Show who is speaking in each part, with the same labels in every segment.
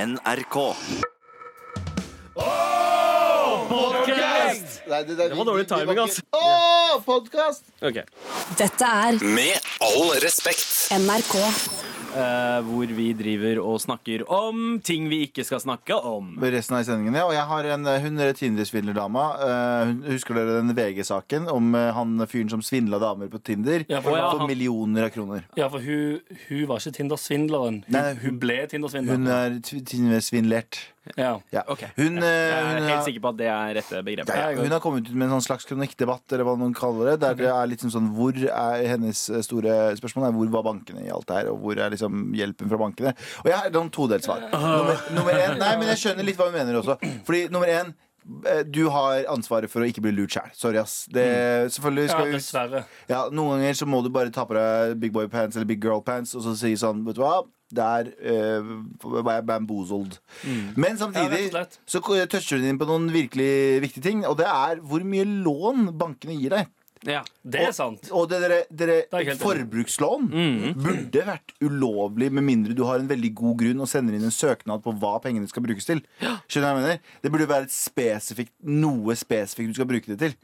Speaker 1: NRK.
Speaker 2: Nei, det, det,
Speaker 3: var dårlig timing, altså.
Speaker 2: Å, podkast!
Speaker 3: Ok.
Speaker 4: Dette er
Speaker 1: Med all respekt.
Speaker 4: NRK.
Speaker 3: Eh, hvor vi driver og snakker om ting vi ikke skal snakke om.
Speaker 2: Resten av sendingen, ja. Og jeg har en eh, hun er Tinder-svindlerdama. Eh, hun- husker dere den VG-saken om eh, han fyren som svindla damer på Tinder
Speaker 5: Ja,
Speaker 2: for,
Speaker 5: for- ja, han-
Speaker 2: millioner av kroner?
Speaker 5: Ja, for hun, hun var ikke Tinder-svindleren. Hun,
Speaker 2: Nei, hun-
Speaker 5: hun ble Tinder-svindler.
Speaker 2: Hun eh, er t- Tinder-svindlert.
Speaker 5: Ja.
Speaker 2: Ja.
Speaker 3: Ok.
Speaker 2: Hun, eh,
Speaker 3: Jeg er
Speaker 2: hun,
Speaker 3: helt
Speaker 2: har-
Speaker 3: sikker på at det er rette begrepet.
Speaker 2: ja, ja, hun har kommet ut med en sånn slags kronikkdebatt, eller hva noen kaller det. Der det er liksom sånn Hvor er hennes eh, store spørsmål? Er hvor var bankene i alt det her? Og hvor er liksom hjelpen fra bankene? Og jeg har noen todelt svar. Nummer, nummer én Nei, men jeg skjønner litt hva hun mener også. Fordi nummer én eh, du har ansvaret for å ikke bli lurt sjæl. Sorry, ass. Det, selvfølgelig
Speaker 5: ja,
Speaker 2: skal vi
Speaker 5: dessverre.
Speaker 2: ja, Noen ganger så må du bare ta på deg big boy pants eller big girl pants og så si sånn Vet du hva, der eh, var jeg bamboozled. Men
Speaker 5: Mm. Ja,
Speaker 2: samtidig
Speaker 5: rett og slett.
Speaker 2: så ko- toucher du inn på noen virkelig viktige ting, og det er hvor mye lån bankene gir deg.
Speaker 3: Ja.
Speaker 5: Det er sant.
Speaker 2: Og det dere,
Speaker 5: er
Speaker 2: dere
Speaker 5: jeg helt enig Mm.
Speaker 2: Forbrukslån burde vært ulovlig med mindre du har en veldig god grunn og sender inn en søknad på hva pengene skal brukes til. Skjønner du hva jeg mener? Det burde være et spesifikt, noe spesifikt du skal bruke det til.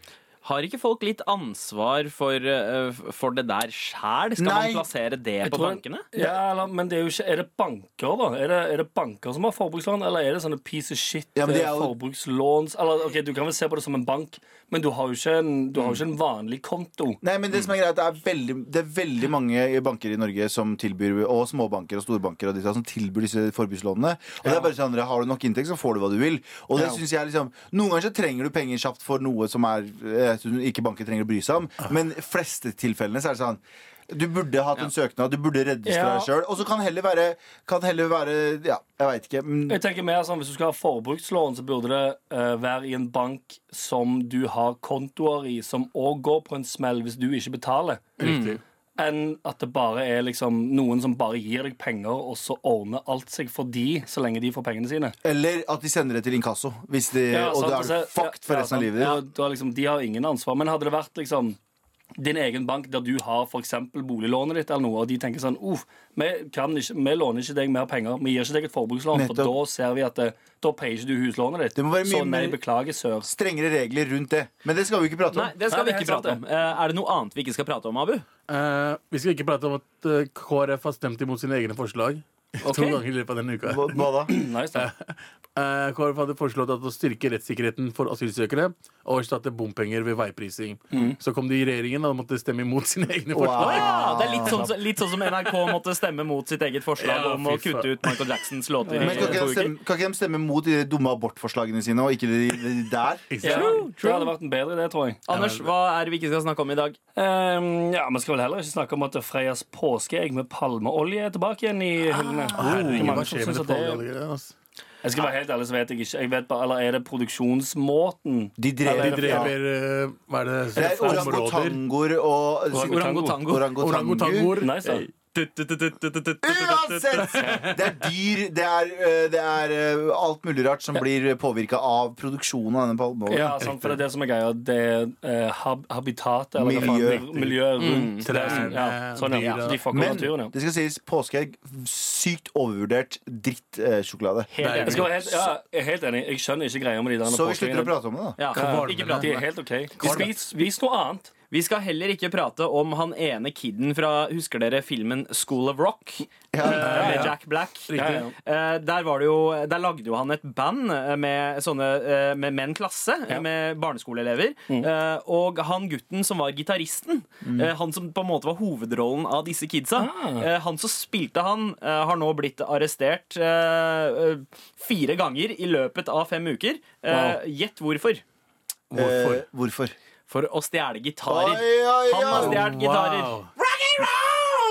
Speaker 3: Har ikke folk litt ansvar for, eh, for det der sjæl? Skal
Speaker 2: Nei.
Speaker 3: man plassere det på
Speaker 5: tror-
Speaker 3: bankene?
Speaker 5: Ja, eller, men det er jo ikke Er det banker, da? Er det, er det banker som har forbrukslån, eller er det sånne piece of shit
Speaker 2: Ja, men det er
Speaker 5: eh,
Speaker 2: jo-
Speaker 5: forbrukslåns Eller OK, du kan vel se på det som en bank, men du har jo ikke en, du har jo ikke en vanlig konto.
Speaker 2: Nei, men Det
Speaker 5: Mm.
Speaker 2: som er greit, det er veldig, det er veldig mange banker i Norge som tilbyr, og småbanker og storbanker og ditt, som tilbyr disse forbrukslånene. Og det er bare sånn, Har du nok inntekt, så får du hva du vil. Og det synes jeg liksom, Noen ganger så trenger du penger kjapt for noe som er, eh, som ikke banker trenger å bry seg om,
Speaker 5: Ah.
Speaker 2: men fleste tilfellene så er det sånn du burde hatt en søknad, du burde reddes fra
Speaker 5: Ja.
Speaker 2: deg sjøl. Og så kan heller være, kan heller være Ja, jeg veit ikke. Men,
Speaker 5: Jeg tenker mer sånn, Hvis du skal ha forbrukslån, så burde det eh, være i en bank som du har kontoer i, som òg går på en smell hvis du ikke betaler. Enn at det bare er liksom noen som bare gir deg penger, og så ordner alt seg for de, så lenge de får pengene sine.
Speaker 2: eller at de sender det til inkasso. Hvis de, Eh, og
Speaker 5: sant,
Speaker 2: da
Speaker 5: altså,
Speaker 2: er du fucked for
Speaker 5: ja,
Speaker 2: resten
Speaker 5: sant.
Speaker 2: av livet ditt.
Speaker 5: Ja, da liksom, de har ingen ansvar. Men hadde det vært liksom din egen bank der du har for eksempel boliglånet ditt, eller noe, og de tenker sånn Uff, vi, kan ikke, vi låner ikke deg mer penger, vi gir ikke deg et forbrukslån, for
Speaker 2: Nettopp.
Speaker 5: da ser vi at det, da payer ikke du huslånet ditt.
Speaker 2: Det må være
Speaker 5: så
Speaker 2: mye
Speaker 5: nei,
Speaker 2: mer-
Speaker 5: beklager, sør.
Speaker 2: Strengere regler rundt det. Men det skal vi ikke prate om.
Speaker 3: Nei, det skal
Speaker 5: Nei,
Speaker 3: vi
Speaker 5: det
Speaker 3: ikke
Speaker 5: er helt
Speaker 3: prate om.
Speaker 5: sant,
Speaker 3: Eh, er det noe annet vi ikke skal prate om, Abu?
Speaker 6: Eh, vi skal ikke prate om at eh, KrF har stemt imot sine egne forslag. To ganger i løpet av denne uka.
Speaker 2: Hva, hva da?
Speaker 5: Nice, da.
Speaker 6: Eh, KrF hadde foreslått at å styrke rettssikkerheten for asylsøkere og erstatte bompenger ved veiprising. Så kom de i regjeringen og måtte stemme imot sine egne forslag.
Speaker 3: Ja,
Speaker 2: Ah,
Speaker 3: det er litt sånn, litt sånn som NRK måtte stemme mot sitt eget forslag
Speaker 6: Ja,
Speaker 3: om å
Speaker 6: fy faen.
Speaker 3: kutte ut Michael Jacksons låter.
Speaker 2: Men kan
Speaker 3: i
Speaker 2: ikke,
Speaker 3: to
Speaker 2: de
Speaker 3: uker.
Speaker 2: stemme, kan ikke de stemme mot de dumme abortforslagene sine, og ikke de, de der?
Speaker 6: Ikke
Speaker 5: Ja,
Speaker 6: sant?
Speaker 5: det hadde vært en bedre idé, tror jeg.
Speaker 3: Anders, hva er det vi ikke skal snakke om i dag?
Speaker 5: Ehm, ja, Vi skal vel heller ikke snakke om at Freias påskeegg med palmeolje er tilbake igjen i
Speaker 2: Ah,
Speaker 5: hyllene. Det er mange
Speaker 6: Herregud, hva
Speaker 5: som
Speaker 6: skjer med
Speaker 5: synes
Speaker 6: det
Speaker 5: at det-
Speaker 6: palmeolje? altså?
Speaker 5: Jeg skal være helt ærlig, så vet jeg ikke. Jeg vet bare, eller er det produksjonsmåten?
Speaker 2: De drev,
Speaker 6: De
Speaker 2: ja.
Speaker 6: drever eh, Hva er det?
Speaker 2: Det er
Speaker 6: områder.
Speaker 2: orangotangoer og
Speaker 3: Orangotango.
Speaker 2: Orangotangoer.
Speaker 6: Orangotangoer.
Speaker 5: Nice, da.
Speaker 2: Uansett! Det er dyr, det er, eh, det er eh, alt mulig rart som blir påvirka av produksjonen av denne palmeoljen.
Speaker 5: Ja, sant, for det er det som er greia. Det er eh, hab habitatet, eller hva
Speaker 2: Miljø.
Speaker 5: faen, miljøet
Speaker 3: Mm.
Speaker 5: rundt det.
Speaker 6: Trærne,
Speaker 5: ja,
Speaker 3: eh,
Speaker 5: sånn, ja.
Speaker 6: dyra.
Speaker 5: De fucker
Speaker 2: Men
Speaker 5: naturen, ja.
Speaker 2: det skal sies påskeegg sykt overvurdert drittsjokolade.
Speaker 3: Helt
Speaker 5: Jeg, skal være helt, ja, jeg er helt enig. Jeg skjønner ikke greia med de der
Speaker 2: Så vi slutter å
Speaker 5: påskene.
Speaker 2: prate om det, da.
Speaker 3: Ja,
Speaker 6: Kvalmende.
Speaker 3: ikke prate
Speaker 5: De er helt OK.
Speaker 6: Kvalm.
Speaker 5: Vis, vis noe annet.
Speaker 3: Vi skal heller ikke prate om han ene kiden fra Husker dere filmen School of Rock? Med Jack Black.
Speaker 5: Ja,
Speaker 3: Eh, Der, var det jo, der lagde jo han et band eh, med, sånne, eh, med, med en klasse eh, med barneskoleelever.
Speaker 5: Mm.
Speaker 3: Eh, Og han gutten som var gitaristen, eh, han som på en måte var hovedrollen av disse kidsa,
Speaker 5: Ah.
Speaker 3: eh, han som spilte han, eh, har nå blitt arrestert eh, eh, fire ganger i løpet av fem uker. Eh,
Speaker 5: Wow.
Speaker 3: Gjett hvorfor.
Speaker 2: Hvorfor? Eh, hvorfor?
Speaker 3: For å stjele
Speaker 2: Oi,
Speaker 3: gitarer.
Speaker 2: oi,
Speaker 3: Han har
Speaker 2: oi.
Speaker 3: stjålet gitarer.
Speaker 6: Wow.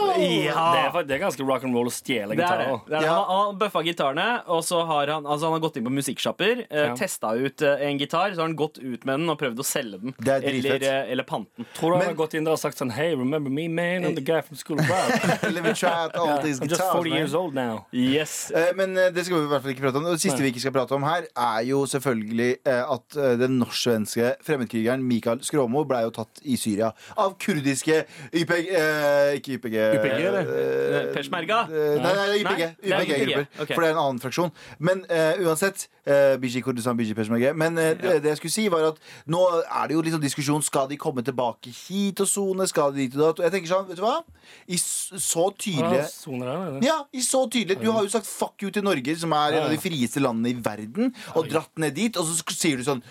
Speaker 5: Det, er,
Speaker 3: Ja,
Speaker 5: fakt- det er ganske rock and roll å
Speaker 3: Ah. det
Speaker 5: stjele
Speaker 3: er det.
Speaker 5: gitarer.
Speaker 3: det, er det.
Speaker 2: Ja.
Speaker 3: Han, han bøffa gitarene, og så har han, altså han har gått inn på musikksjapper, eh,
Speaker 5: Ja.
Speaker 3: testa ut eh, en gitar, så har han gått ut med den og prøvd å selge den.
Speaker 2: Det er dritfett.
Speaker 3: eller, eh, eller panten.
Speaker 5: Tror du han har gått inn der og sagt sånn Hey, remember me, man? I'm the guy from School of Rock.
Speaker 2: Let me try out all these
Speaker 5: I'm just
Speaker 2: guitars,
Speaker 5: 40
Speaker 2: man.
Speaker 5: years old now.
Speaker 3: Yes.
Speaker 2: Eh, Men eh, det skal vi i hvert fall ikke prate om. Og Det siste vi ikke skal prate om her, er jo selvfølgelig eh, at eh, den norsk-svenske fremmedkrigeren Mikael Skråmo ble jo tatt i Syria av kurdiske YPG eh, Ikke YPG,
Speaker 6: UPG, eller?
Speaker 2: eh,
Speaker 3: Peshmerga?
Speaker 2: eh, Nei, nei, det er UPG.
Speaker 3: Nei, det er
Speaker 2: UPG-grupper.
Speaker 3: UPG, ok.
Speaker 2: For det er en annen fraksjon. Men eh, uansett uh, BG Kurdistan, BG Peshmerga. Men eh, det, det jeg skulle si, var at nå er det jo litt sånn diskusjon. Skal de komme tilbake hit og sone? Skal de dit og datt? Og Jeg tenker sånn, vet du hva? I s- så
Speaker 5: Ah,
Speaker 2: tydelige ja, i så tydelig. Du har jo sagt fuck you til Norge, som er en av de frieste landene i verden, og dratt ned dit, og så sk- sier du sånn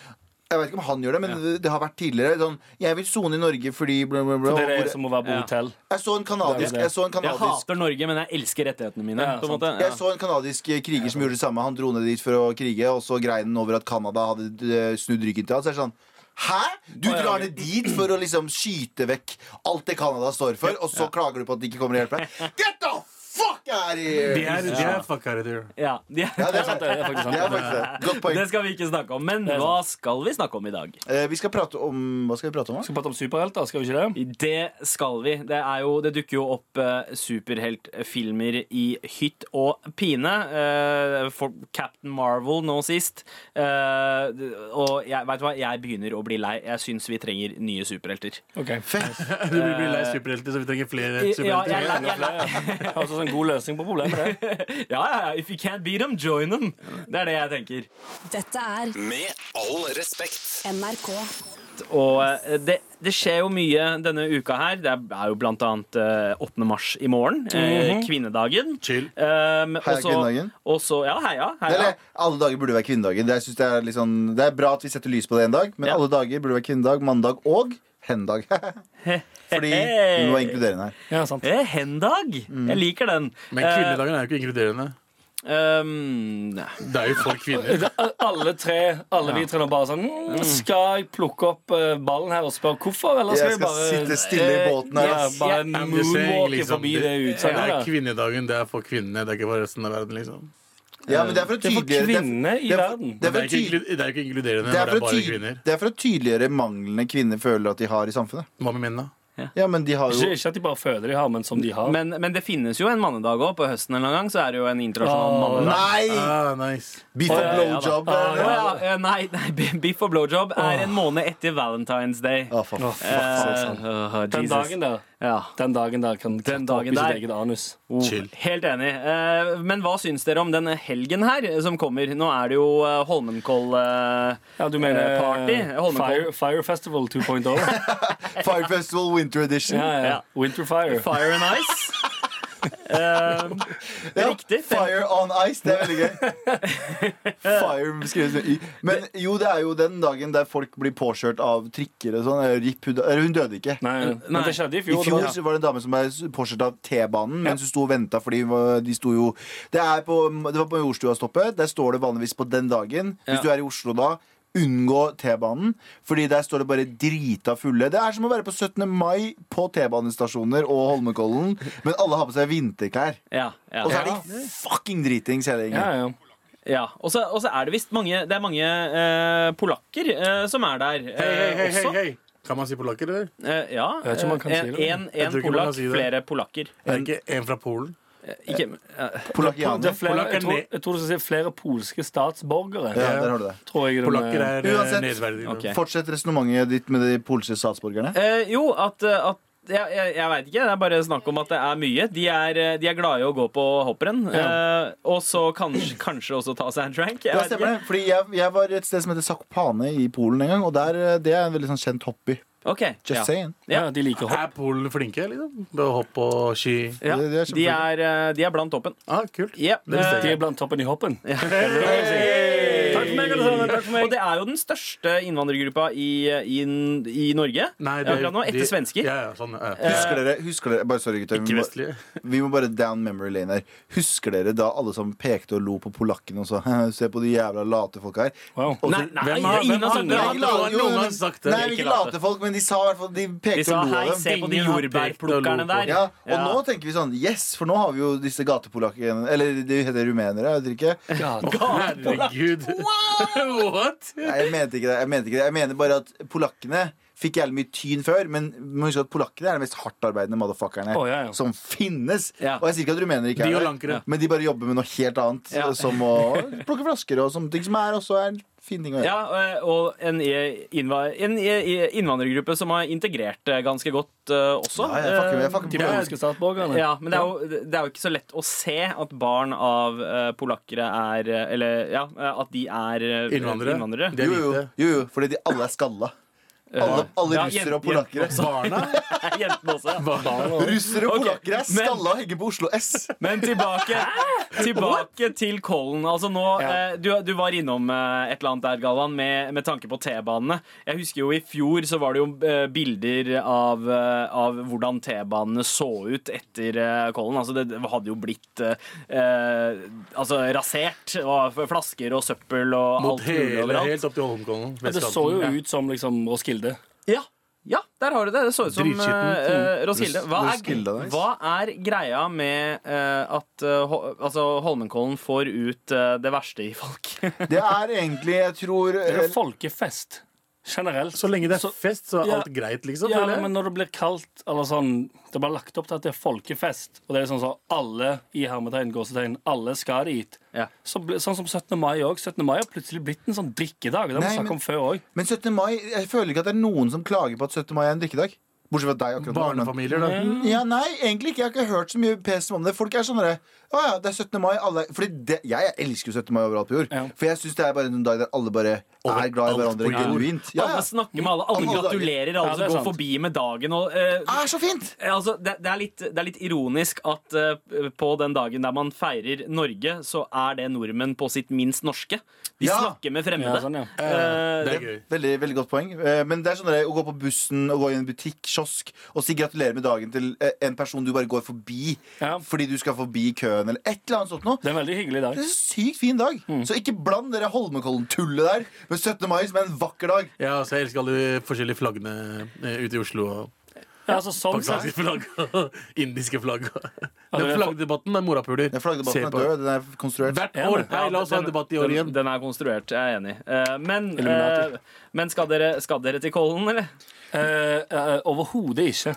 Speaker 2: jeg vet ikke om han gjør det, men det- det har vært tidligere. Sånn, jeg vil sone i Norge fordi bla, bla, bla.
Speaker 5: Det er
Speaker 2: og-
Speaker 5: som å være på
Speaker 3: Ja.
Speaker 5: hotell.
Speaker 2: Jeg så en
Speaker 5: Det
Speaker 2: kanadisk,
Speaker 5: er det.
Speaker 2: jeg så en
Speaker 3: Jeg
Speaker 2: kanadisk
Speaker 3: hater Norge, men jeg elsker rettighetene mine.
Speaker 5: Ja,
Speaker 3: på en
Speaker 5: sant.
Speaker 3: måte.
Speaker 2: jeg så en kanadisk eh, kriger som gjorde det samme. Han dro ned dit for å krige, og så grein han over at Canada hadde eh, snudd ryggen til han. Så er det sånn Hæ?! Du drar ned dit for å liksom skyte vekk alt det Canada står for, og så klager du på at de ikke kommer og hjelper deg? Get the fuck out of
Speaker 6: De
Speaker 2: here!
Speaker 6: er, de er fuck out of there.
Speaker 3: Ja, de,
Speaker 2: Ja, det er sant.
Speaker 5: Det er faktisk
Speaker 2: Det
Speaker 5: sant.
Speaker 2: er faktisk det.
Speaker 5: eh,
Speaker 2: Godt poeng.
Speaker 3: det skal vi ikke snakke om, men hva skal vi snakke om i dag?
Speaker 2: Eh, vi skal prate om Hva skal vi prate om? da?
Speaker 5: Skal vi prate om superhelter, skal vi ikke det?
Speaker 3: Det skal vi. Det, er jo, det dukker jo opp eh, superheltfilmer i hytt og pine. Eh, for Captain Marvel nå sist. Eh, og jeg, vet du hva? jeg begynner å bli lei. Jeg syns vi trenger nye superhelter.
Speaker 5: Ok.
Speaker 6: Du blir blir lei superhelter, så vi trenger flere
Speaker 3: Ja,
Speaker 6: superhelter.
Speaker 3: jeg er lei- jeg er lei.
Speaker 5: Altså en god løsning på problemet. Det.
Speaker 3: Ja, ja, ja. If you can't beat them, join them. Det er det jeg tenker.
Speaker 4: Dette er
Speaker 1: Med all respekt.
Speaker 4: NRK.
Speaker 3: Og eh, det, det skjer jo mye denne uka her. Det er jo blant annet eh, 8. mars i morgen. eh, Kvinnedagen.
Speaker 6: Chill.
Speaker 3: Um,
Speaker 2: Mhm. Heia kvinnedagen.
Speaker 3: Og så, ja, heia. heia.
Speaker 2: Eller, alle dager burde være kvinnedagen. Det, jeg synes det, er litt sånn- det er bra at vi setter lys på det en dag, men
Speaker 3: Ja.
Speaker 2: alle dager burde være kvinnedag, mandag og hendag. Fordi hun var inkluderende her.
Speaker 5: Ja, sant.
Speaker 3: Eh, hendag. Jeg liker den.
Speaker 6: Men kvinnedagen er jo ikke inkluderende.
Speaker 3: Eh, um, nei.
Speaker 6: Det er jo for kvinner.
Speaker 5: Alle tre alle vi tre nå bare sånn mm, Skal jeg plukke opp eh, ballen her og spørre hvorfor, eller skal
Speaker 2: Jeg
Speaker 5: vi
Speaker 2: skal
Speaker 5: bare
Speaker 2: sitte stille i
Speaker 3: eh,
Speaker 2: båten her.
Speaker 5: ja,
Speaker 2: ass.
Speaker 5: bare
Speaker 6: I'm just saying,
Speaker 5: moonwalke
Speaker 6: liksom,
Speaker 5: forbi det
Speaker 6: det er
Speaker 5: utsagnet? da?
Speaker 6: kvinnedagen, det er for kvinnene. Det er ikke for resten av verden, liksom.
Speaker 2: Ja, men det er for å
Speaker 5: Det er for
Speaker 2: tydeliggjøre det er-
Speaker 5: kvinner i
Speaker 2: det er for-
Speaker 5: verden.
Speaker 2: Det er
Speaker 6: Det
Speaker 2: for
Speaker 6: er
Speaker 2: å
Speaker 6: ikke,
Speaker 2: tydelig-
Speaker 6: inklu- det er ikke inkluderende
Speaker 2: det er
Speaker 6: når
Speaker 2: for
Speaker 6: det
Speaker 2: å
Speaker 6: er bare
Speaker 2: tydelig-
Speaker 6: kvinner.
Speaker 2: det er for å tydeliggjøre manglene kvinner føler at de har i samfunnet.
Speaker 6: Hva med menn, da?
Speaker 2: Ja, men de har
Speaker 5: Ikke,
Speaker 2: jo
Speaker 5: ikke at de bare føder de har, men som de har.
Speaker 3: Men, men det finnes jo en mannedag òg. På høsten en eller annen gang så er det jo en internasjonal
Speaker 5: Åh,
Speaker 3: mannedag.
Speaker 2: Nei!
Speaker 6: Ah, nice.
Speaker 2: Beef
Speaker 5: Å, ja,
Speaker 2: and
Speaker 5: ja, ja, da.
Speaker 2: blowjob.
Speaker 5: Å,
Speaker 3: Å
Speaker 2: eh.
Speaker 3: ja, eh, nei, nei, b- biff og blowjob er en måned etter Valentine's Day.
Speaker 2: Å, for Ah,
Speaker 5: Åh,
Speaker 2: faen.
Speaker 5: fuck, sant, sant.
Speaker 3: Eh, åh,
Speaker 5: Den
Speaker 3: Jesus.
Speaker 5: dagen der
Speaker 3: Ja.
Speaker 5: Den dagen der kan klappe opp
Speaker 3: dagen
Speaker 5: i sitt
Speaker 3: der.
Speaker 5: eget anus.
Speaker 3: Oh,
Speaker 6: Chill.
Speaker 3: Helt enig. Eh, Men hva syns dere om denne helgen her eh, som kommer? Nå er det jo eh, Holmenkoll eh,
Speaker 5: Ja, du mener
Speaker 3: Eh, party? Holmenkollen.
Speaker 5: Fire, Fire Festival 2.0?
Speaker 2: Fire Festival Winter Edition.
Speaker 5: ja, ja.
Speaker 3: Ja.
Speaker 5: Winter Fire.
Speaker 3: Fire and Ice. Eh,
Speaker 2: Ja,
Speaker 3: Riktig.
Speaker 2: Fire on ice, det er veldig gøy. Fire skrives med y. Men jo, det er jo den dagen der folk blir påkjørt av trikker og sånn. Eller Rip, hun, dø- eller hun døde ikke.
Speaker 5: Nei, men det skjedde i
Speaker 2: I
Speaker 5: fjor.
Speaker 2: fjor
Speaker 5: det
Speaker 2: så var det en dame som ble s- påkjørt av T-banen mens hun sto og venta fordi hva- de sto jo Det, er på, det var på Majorstuastoppet. Der står det vanligvis på den dagen. Hvis
Speaker 3: Ja.
Speaker 2: du er i Oslo da. Unngå T-banen, Fordi der står det bare drita fulle. Det er som å være på 17. mai på T-banestasjoner og Holmenkollen, men alle har på seg vinterklær.
Speaker 3: Ja, ja.
Speaker 2: Og så er de fucking dritings hele
Speaker 5: var-
Speaker 2: gjengen.
Speaker 5: ja, ja.
Speaker 3: Ja, Og så og så er det visst mange Det er mange eh, polakker eh, som er der eh,
Speaker 6: Hei, hei, hei, hei,
Speaker 3: også.
Speaker 6: hei. Kan man si polakker, eller?
Speaker 3: Eh, ja.
Speaker 5: Jeg vet ikke om man kan si
Speaker 3: eh,
Speaker 5: det, men-
Speaker 3: en
Speaker 6: Jeg
Speaker 3: en
Speaker 6: tror ikke man
Speaker 3: polakk,
Speaker 6: kan si det. Eh,
Speaker 3: flere polakker.
Speaker 6: Er det ikke en fra Polen?
Speaker 3: Ikke,
Speaker 5: Det er
Speaker 2: Polakkianer.
Speaker 5: flere,
Speaker 6: Polakker
Speaker 5: jeg, tror,
Speaker 6: ne-
Speaker 5: jeg tror du skal si flere polske statsborgere.
Speaker 2: Ja, der har du det.
Speaker 5: Tror jeg de-
Speaker 6: Polakker er eh,
Speaker 2: Uansett.
Speaker 6: nedverdigende.
Speaker 3: Ok.
Speaker 2: Fortsett resonnementet ditt med de polske statsborgerne.
Speaker 3: Eh, jo, at, at jeg, jeg, jeg veit ikke. Det er bare snakk om at det er mye. De er, eh, de er glade i å gå på hopprenn. eh, og så kanskje, kanskje også ta seg en drank. Jeg
Speaker 2: Ja,
Speaker 3: vet
Speaker 2: stemmer det.
Speaker 3: ikke.
Speaker 2: Fordi jeg, jeg var et sted som heter Zakopane i Polen en gang, og der, eh, det er en veldig sånn kjent hobby.
Speaker 3: Ok,
Speaker 2: Just
Speaker 3: ja.
Speaker 2: saying.
Speaker 5: Ja, de liker hopp.
Speaker 6: Er Polen flinke, liksom? Med å hoppe og ski?
Speaker 3: Ja,
Speaker 2: Det- det er
Speaker 3: de, er, eh, de er blant toppen. eh,
Speaker 6: Ah, kult.
Speaker 3: Yep.
Speaker 5: De er blant toppen i hoppen.
Speaker 3: Takk for meg, alle sammen. Takk for meg. Og det er jo den største innvandrergruppa i, i, i Norge
Speaker 6: Nei, det-
Speaker 3: akkurat nå, etter
Speaker 6: de-
Speaker 3: svensker. Eh,
Speaker 6: Ja, ja, sånn, ja.
Speaker 2: Husker dere, husker dere bare, Sorry, gutter. Vi
Speaker 6: Ikke
Speaker 2: må,
Speaker 6: vestlige.
Speaker 2: vi må bare down memory lane her. Husker dere da alle som pekte og lo på polakkene og så Se på de jævla late folka her.
Speaker 5: Wow.
Speaker 2: Og så-
Speaker 3: Nei, nei,
Speaker 6: Hvem har-
Speaker 3: ingen
Speaker 6: hvem
Speaker 3: har
Speaker 6: har-
Speaker 3: sagt
Speaker 6: hvem
Speaker 3: det.
Speaker 6: har-
Speaker 2: Ikke late-
Speaker 6: noen
Speaker 2: jo, men-
Speaker 6: har sagt det.
Speaker 2: Nei, ikke
Speaker 3: Ikke late.
Speaker 2: late folk, men de sa i hvert fall De
Speaker 3: De
Speaker 2: pekte
Speaker 3: sa
Speaker 2: og lo
Speaker 3: hei,
Speaker 2: av dem.
Speaker 3: se på de
Speaker 6: Ingen har pekt og lo
Speaker 3: jordbærplukkerne
Speaker 6: på.
Speaker 3: der.
Speaker 2: Ja, og nå tenker vi sånn Yes, for nå har vi jo disse gatepolakkene Eller de heter rumenere, jeg vet ikke.
Speaker 6: Herregud. What?
Speaker 2: Nei, jeg mente ikke det. Jeg mente, ikke det. Jeg mener bare at polakkene Fikk jævlig mye tyn før, men man må huske at polakkene er de mest hardtarbeidende motherfuckerne
Speaker 5: Å, ja, ja.
Speaker 2: som finnes.
Speaker 3: Ja.
Speaker 2: Og jeg sier ikke at rumenere ikke
Speaker 6: De og
Speaker 2: er
Speaker 6: lankere.
Speaker 2: men de bare jobber med noe helt annet.
Speaker 3: Ja.
Speaker 2: Som å plukke flasker og sånne ting som er også er en fin ting å gjøre.
Speaker 3: Ja, og- og en, i- innva en i- i- innvandrergruppe som har integrert eh, ganske godt eh, også.
Speaker 2: Ja, jeg fucker med- jeg
Speaker 3: Eh,
Speaker 2: fucker
Speaker 5: De
Speaker 2: med det.
Speaker 5: polske statsborgerne.
Speaker 3: ja, men det er, jo, det er jo ikke så lett å se at barn av eh, polakkere er eh, Eller ja, eh, at de er eh,
Speaker 6: Innvandrere.
Speaker 3: innvandrere.
Speaker 6: Det er
Speaker 2: Jo, jo,
Speaker 6: hvite.
Speaker 2: jo, jo, fordi de alle er skalla. Alle, alle
Speaker 3: Ja,
Speaker 2: russere
Speaker 3: jent- jent-
Speaker 2: og polakkere.
Speaker 6: Barna?
Speaker 3: Jentene også. Ja.
Speaker 2: Russere og
Speaker 3: Ok,
Speaker 2: polakkere er
Speaker 3: men-
Speaker 2: skalla og henger på Oslo S.
Speaker 3: Men tilbake, tilbake til Kollen. Altså nå,
Speaker 5: Ja.
Speaker 3: eh, du, du var innom eh, et eller annet der, Galvan, med, med tanke på T-banene. Jeg husker jo i fjor så var det jo eh, bilder av, eh, av hvordan T-banene så ut etter eh, Kollen. Altså det det hadde jo blitt eh, eh, altså rasert. Og f- flasker og søppel og
Speaker 6: Mot
Speaker 3: alt mulig
Speaker 6: hele,
Speaker 3: overalt.
Speaker 6: helt opp til Holmenkollen.
Speaker 5: Det så jo ut som liksom Roskilde.
Speaker 3: Ja, ja, der har du det. Det så ut som
Speaker 6: Dritskitten.
Speaker 3: eh, eh, Roskilde. Hva
Speaker 2: Roskilde,
Speaker 3: er,
Speaker 2: nice.
Speaker 3: hva er greia med eh, at eh, Ho- altså Holmenkollen får ut eh, det verste i folk?
Speaker 2: Det er egentlig, jeg tror eh,
Speaker 5: Det er jo folkefest generelt.
Speaker 6: Så lenge det er fest, så er
Speaker 5: Ja.
Speaker 6: alt greit, liksom.
Speaker 5: Ja,
Speaker 6: føler jeg.
Speaker 5: men når det blir kaldt eller sånn, Det blir lagt opp til at det er folkefest, og det er sånn så alle i hermetegn, gåsetegn, alle skal dit.
Speaker 3: Ja.
Speaker 5: Så, ble- sånn som 17. mai òg. 17. mai har plutselig blitt en sånn drikkedag. og Det har
Speaker 2: Nei,
Speaker 5: vi snakket
Speaker 2: men-
Speaker 5: om før òg.
Speaker 2: Men 17. mai, jeg føler ikke at det er noen som klager på at 17. mai er en drikkedag. Bortsett fra deg akkurat nå. Arne.
Speaker 6: Barnefamilier, da.
Speaker 2: Ja, nei, egentlig ikke. Jeg har ikke hørt så mye pes om det. Folk er sånn derre Å ja, det er 17. mai. Alle er-» Fordi det, jeg, elsker jo 17. mai overalt på jord.
Speaker 5: Ja.
Speaker 2: For jeg syns det er bare en dag der alle bare er glad i
Speaker 6: Overalt
Speaker 2: hverandre
Speaker 6: på jord.
Speaker 2: genuint. Ja,
Speaker 3: Alle
Speaker 2: ja.
Speaker 3: snakker med alle, alle
Speaker 2: Alle dager.
Speaker 3: gratulerer, alle
Speaker 5: Ja, det
Speaker 3: som
Speaker 5: er
Speaker 3: går
Speaker 5: sant.
Speaker 3: forbi med dagen. Og, eh,
Speaker 2: Er så fint!
Speaker 3: eh, altså, det, det, er litt, det er litt ironisk at eh, på den dagen der man feirer Norge, så er det nordmenn på sitt minst norske. De
Speaker 2: Ja.
Speaker 3: snakker med fremmede.
Speaker 5: Ja, sånn, ja.
Speaker 3: Eh,
Speaker 6: Det er gøy.
Speaker 2: Veldig, veldig godt poeng. Eh, Men det er sånn der, å gå på bussen og gå i en butikk, kiosk, og si gratulerer med dagen til eh, en person du bare går forbi
Speaker 5: Ja.
Speaker 2: fordi du skal forbi køen, eller et eller annet sånt noe.
Speaker 5: Det er en veldig hyggelig dag.
Speaker 2: Det er en sykt fin dag.
Speaker 6: Mm.
Speaker 2: Så ikke bland dere Holmenkollen-tullet der med 17. mai, som er en vakker dag.
Speaker 6: Ja, så jeg elsker alle de forskjellige flaggene eh, ute i Oslo. Og
Speaker 5: Ja, altså, sånn sett,
Speaker 6: pakistanske flagg og indiske flagg.
Speaker 5: det
Speaker 6: Den
Speaker 5: er-
Speaker 6: flaggdebatten er morapuler.
Speaker 2: Den flaggdebatten
Speaker 6: Se
Speaker 2: er
Speaker 6: på.
Speaker 2: død. Den er konstruert.
Speaker 6: Hvert år!
Speaker 3: Ja,
Speaker 6: Hei, la oss ha en
Speaker 3: den-
Speaker 6: sånn debatt i år
Speaker 3: den-
Speaker 6: igjen.
Speaker 3: Den er konstruert, jeg er enig. Eh, men
Speaker 5: Illuminati.
Speaker 3: eh, men skal, dere, skal dere til Kollen, eller?
Speaker 5: eh, eh, overhodet ikke.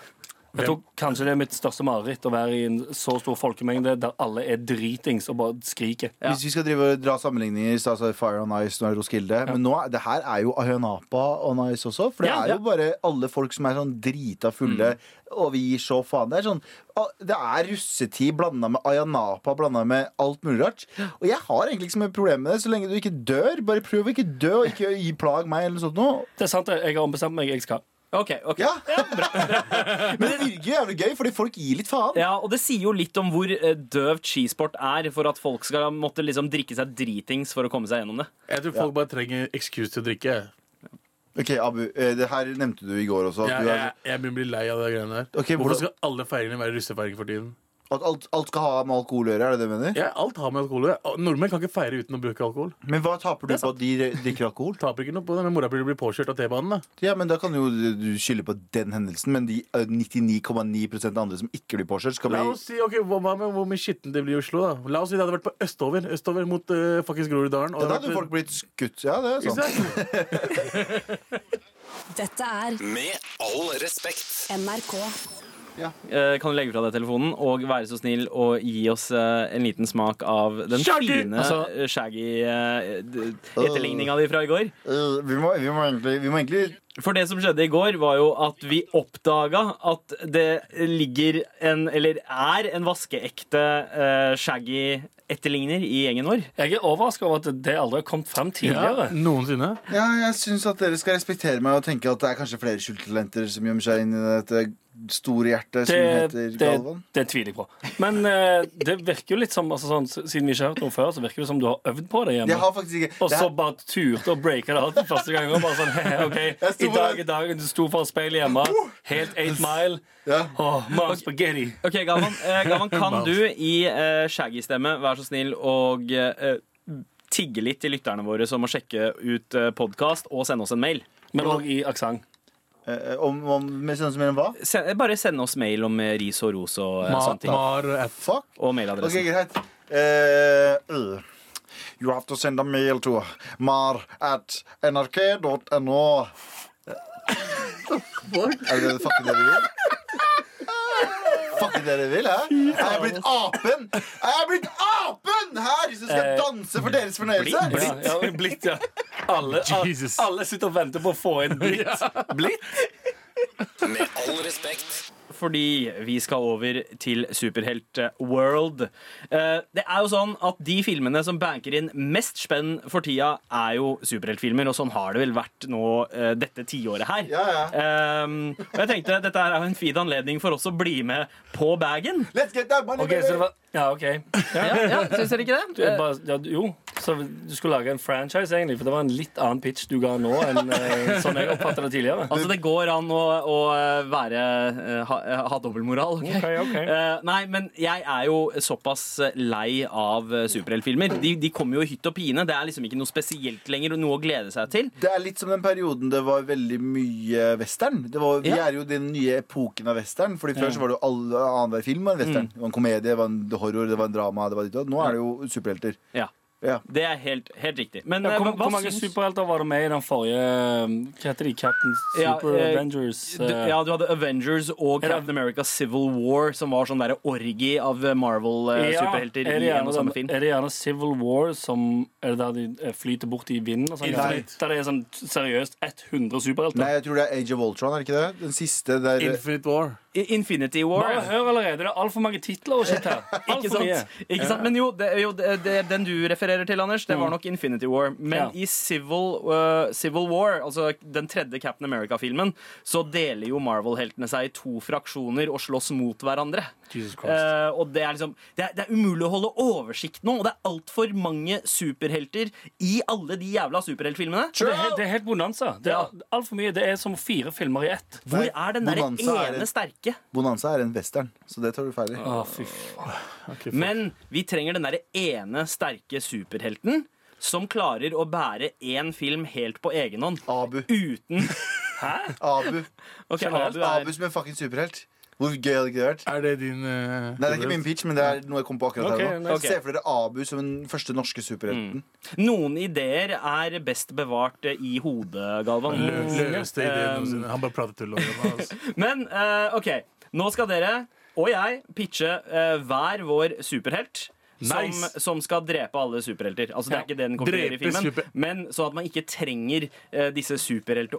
Speaker 5: Jeg tror kanskje det er mitt største mareritt å være i en så stor folkemengde der alle er dritings og bare skriker.
Speaker 2: Hvis vi skal drive og dra sammenligninger, så altså Fire on Ice nå er det Roskilde. Men nå, er- det her er jo Ayanapa on Ice også. For det
Speaker 3: Ja,
Speaker 2: er jo
Speaker 3: ja.
Speaker 2: bare alle folk som er sånn drita fulle.
Speaker 6: Mm.
Speaker 2: Og vi gir så faen. Det er sånn ah, Det er russetid blanda med Ayanapa blanda med alt mulig rart. Og jeg har egentlig ikke så mye problem med det, så lenge du ikke dør. Bare prøv å ikke dø, og ikke gi plag meg eller noe sånt noe.
Speaker 5: Det er sant, det. jeg har ombestemt meg. Jeg skal.
Speaker 3: Ok, ok.
Speaker 2: Ja. Men det virker jo jævlig gøy, fordi folk gir litt faen.
Speaker 3: Ja, og Det sier jo litt om hvor eh, døv skisport er, for at folk skal måtte liksom drikke seg dritings for å komme seg gjennom det.
Speaker 6: Jeg tror folk bare trenger excuse til å drikke.
Speaker 2: Ok, Abu, eh, det her nevnte du i går også. At,
Speaker 6: Jeg,
Speaker 2: du
Speaker 6: jeg,
Speaker 2: er,
Speaker 6: jeg begynner å bli lei av det greiene der.
Speaker 2: Ok, hvordan-
Speaker 6: Hvorfor skal alle feiringene være russefeiringer for tiden?
Speaker 2: at alt, alt skal ha med alkohol å gjøre, er det det du mener?
Speaker 6: Ja, alt har med alkohol å gjøre. Og Nordmenn kan ikke feire uten å bruke alkohol.
Speaker 2: Men hva taper du på at de re- drikker alkohol?
Speaker 6: Taper ikke noe på det, men morapuler blir påkjørt av T-banen. da.
Speaker 2: Ja, men Da kan jo du skylde på den hendelsen, men de eh, 99,9 av andre som ikke blir påkjørt, skal bli
Speaker 6: La oss si, ok, hva hva med hvor mye skitten det blir i Oslo, da? La oss si det hadde vært på østover. Østover mot uh, fuckings Groruddalen. og
Speaker 2: Da
Speaker 6: det
Speaker 2: hadde
Speaker 6: hadde
Speaker 2: jo folk blitt skutt. Ja, det er
Speaker 6: vært-
Speaker 2: sant.
Speaker 6: Ikke sant?
Speaker 4: Dette er
Speaker 1: Med all respekt.
Speaker 4: NRK.
Speaker 3: Eh, kan du legge fra deg telefonen og være så snill å gi oss eh, en liten smak av den
Speaker 6: Shaggy!
Speaker 3: fine
Speaker 5: Altså-
Speaker 3: eh, Shaggy-etterligninga di fra i går?
Speaker 2: Eh, Vi må, vi må egentlig, vi må egentlig
Speaker 3: For det som skjedde i går, var jo at vi oppdaga at det ligger en, eller er, en vaskeekte eh, Shaggy-etterligner i gjengen vår.
Speaker 5: Jeg er overraska over at det aldri har kommet frem tidligere.
Speaker 6: Ja, noensinne.
Speaker 2: Ja, jeg syns at dere skal respektere meg og tenke at det er kanskje flere skjultalenter som gjemmer seg inn i dette store hjertet som
Speaker 5: det,
Speaker 2: heter
Speaker 5: det,
Speaker 2: Galvan.
Speaker 5: det tviler jeg på. Men eh, det virker jo litt som altså, sånn, s- Siden vi ikke har hørt noe før, så virker det som du har øvd på det
Speaker 2: Jeg
Speaker 5: hjemme.
Speaker 2: har faktisk ikke
Speaker 5: Og
Speaker 2: det
Speaker 5: så
Speaker 2: er-
Speaker 5: bare turte å breake det alt første gang. Og bare sånn, «Hehe,
Speaker 2: Jeg
Speaker 5: ok,
Speaker 2: sto
Speaker 5: I
Speaker 2: for
Speaker 5: dag
Speaker 2: det.
Speaker 5: er dagen du sto foran speilet hjemme. Helt eight mile.
Speaker 2: ja.
Speaker 5: Åh, Mom spaghetti.
Speaker 3: Ok, Galvan, eh, Galvan kan du i eh, Shaggy-stemme være så snill og eh, tigge litt til lytterne våre som må sjekke ut eh, podkast, og sende oss en mail?
Speaker 5: Men òg i aksent.
Speaker 2: Eh, Om, om, med sånn som gjennom hva?
Speaker 3: Se- eh, bare send oss mail om eh, ris og ros og eh,
Speaker 6: Ma,
Speaker 3: sånne ting.
Speaker 6: mar F.
Speaker 2: Fuck.
Speaker 3: Og
Speaker 2: Ok,
Speaker 3: mailadressen.
Speaker 2: greit. Eh, øh. you have to send a mail to mar at nrk.no.
Speaker 4: Bård.
Speaker 2: Er det det fucking dere vil? Fucking dere vil, hæ? Er jeg blitt apen? Er jeg blitt apen her som skal danse for deres fornøyelse?
Speaker 5: Ja, ja, blitt, ja. Alle, alle,
Speaker 6: Jesus.
Speaker 5: alle sitter og venter på å få inn blitt.
Speaker 1: Med all respekt.
Speaker 3: fordi vi skal over til superhelt-world. Det er jo sånn at de filmene som banker inn mest spenn for tida, er jo superheltfilmer, og sånn har det vel vært nå eh, dette tiåret her.
Speaker 2: Ja, ja.
Speaker 3: Ehm, og jeg tenkte dette er jo en fin anledning for oss å bli med på bagen.
Speaker 2: Let's get that money,
Speaker 5: Ok, så det
Speaker 2: baby!
Speaker 5: var, ja, ok ja,
Speaker 3: Ja, ja, Syns dere ikke det?
Speaker 5: jeg bare, ja, Jo, så du skulle lage en franchise, egentlig, for det var en litt annen pitch du ga nå enn eh, sånn jeg oppfattet det tidligere.
Speaker 3: Altså, det går an å, å eh, være ha, eh, ha dobbeltmoral. ok?
Speaker 5: Ok, ok.
Speaker 3: Eh, nei, men jeg er jo såpass eh, lei av eh, superheltfilmer. De, de kommer jo i hytt og pine. Det er liksom ikke noe spesielt lenger og noe å glede seg til.
Speaker 2: Det er litt som den perioden det var veldig mye western. Det var, vi
Speaker 3: Ja.
Speaker 2: er jo den nye epoken av western. Fordi Før så var det jo alle- annenhver film var en western.
Speaker 3: Mm.
Speaker 2: Det var en komedie, det var en horror, det var en drama. Det var ditt, og datt. nå er det jo superhelter.
Speaker 3: Ja,
Speaker 2: Ja.
Speaker 3: Det er helt, helt riktig. Men
Speaker 5: Ja,
Speaker 3: eh,
Speaker 5: hvor,
Speaker 3: hva
Speaker 5: hvor mange
Speaker 3: syns-
Speaker 5: superhelter var du med i den forrige eh, Hva heter de? Captain
Speaker 3: Ja,
Speaker 5: Super
Speaker 3: eh,
Speaker 5: Avengers?
Speaker 3: du,
Speaker 5: eh,
Speaker 3: ja, du hadde Avengers og
Speaker 5: Er det-
Speaker 3: Captain America Civil War, som var sånn derre orgi av
Speaker 5: ja,
Speaker 3: Marvel-superhelter eh,
Speaker 5: er det
Speaker 3: i en
Speaker 5: gjerne
Speaker 3: og samme
Speaker 5: den-
Speaker 3: film.
Speaker 5: Er det gjerne Civil War som Er det der de eh, flyter bort i vinden? Og sånn,
Speaker 6: Infinite.
Speaker 5: Der det er sånn seriøst 100 superhelter?
Speaker 2: Nei, jeg tror det er Age of Ultron, er det ikke det? Den siste der
Speaker 6: Infinite War.
Speaker 3: I- Infinity War.
Speaker 5: Bare
Speaker 3: ja.
Speaker 5: hør allerede, det er altfor mange titler og shit her. Alt
Speaker 3: Ikke
Speaker 5: for mye.
Speaker 3: sant? Ikke sant? Men jo, det, jo det, det, den du refererer til, Anders, det var nok Infinity War. Men
Speaker 5: Mm. Ja.
Speaker 3: i Civil, uh, Civil War, altså den tredje Captain America-filmen, så deler jo Marvel-heltene seg i to fraksjoner og slåss mot hverandre.
Speaker 5: Jesus Christ.
Speaker 3: Eh, og det er liksom det er, det er umulig å holde oversikt nå, og det er altfor mange superhelter i alle de jævla superheltfilmene.
Speaker 5: Det er, helt- det er helt bonanza. Det er alt for mye. Det er som fire filmer i ett.
Speaker 3: Hvor er den derre
Speaker 2: Bonanza er det-
Speaker 3: ene sterke?
Speaker 2: Bonanza er en western, så det tar du feil i.
Speaker 5: Å,
Speaker 3: Ah.
Speaker 5: fy faen.
Speaker 3: Men vi trenger den der ene sterke superhelten som klarer å bære én film helt på egen hånd.
Speaker 2: Abu.
Speaker 3: Uten
Speaker 2: Abu.
Speaker 3: Ok,
Speaker 5: Generelt,
Speaker 3: Abu
Speaker 2: Abu
Speaker 3: er
Speaker 2: som en fucking superhelt. Hvor gøy hadde ikke det vært?
Speaker 6: Er det din eh,
Speaker 2: Nei, det er ikke min pitch, men det er noe jeg kom på akkurat
Speaker 5: Ok,
Speaker 2: her nå.
Speaker 3: nice. Mm.
Speaker 2: Se for dere Abu som den første norske superhelten.
Speaker 3: Noen ideer er best bevart eh, i hodet, Galvan.
Speaker 6: lø- løseste ideen noensinne? Han bare prater tull om det. Altså.
Speaker 3: Men eh, OK, nå skal dere og jeg pitche eh, hver vår superhelt. Som,
Speaker 6: Nice.
Speaker 3: som skal drepe alle superhelter. Altså Det er
Speaker 5: Ja.
Speaker 3: ikke det den kommer til å gjøre i
Speaker 6: Drepe
Speaker 3: filmen.
Speaker 6: super-
Speaker 3: Men sånn at man ikke trenger eh, disse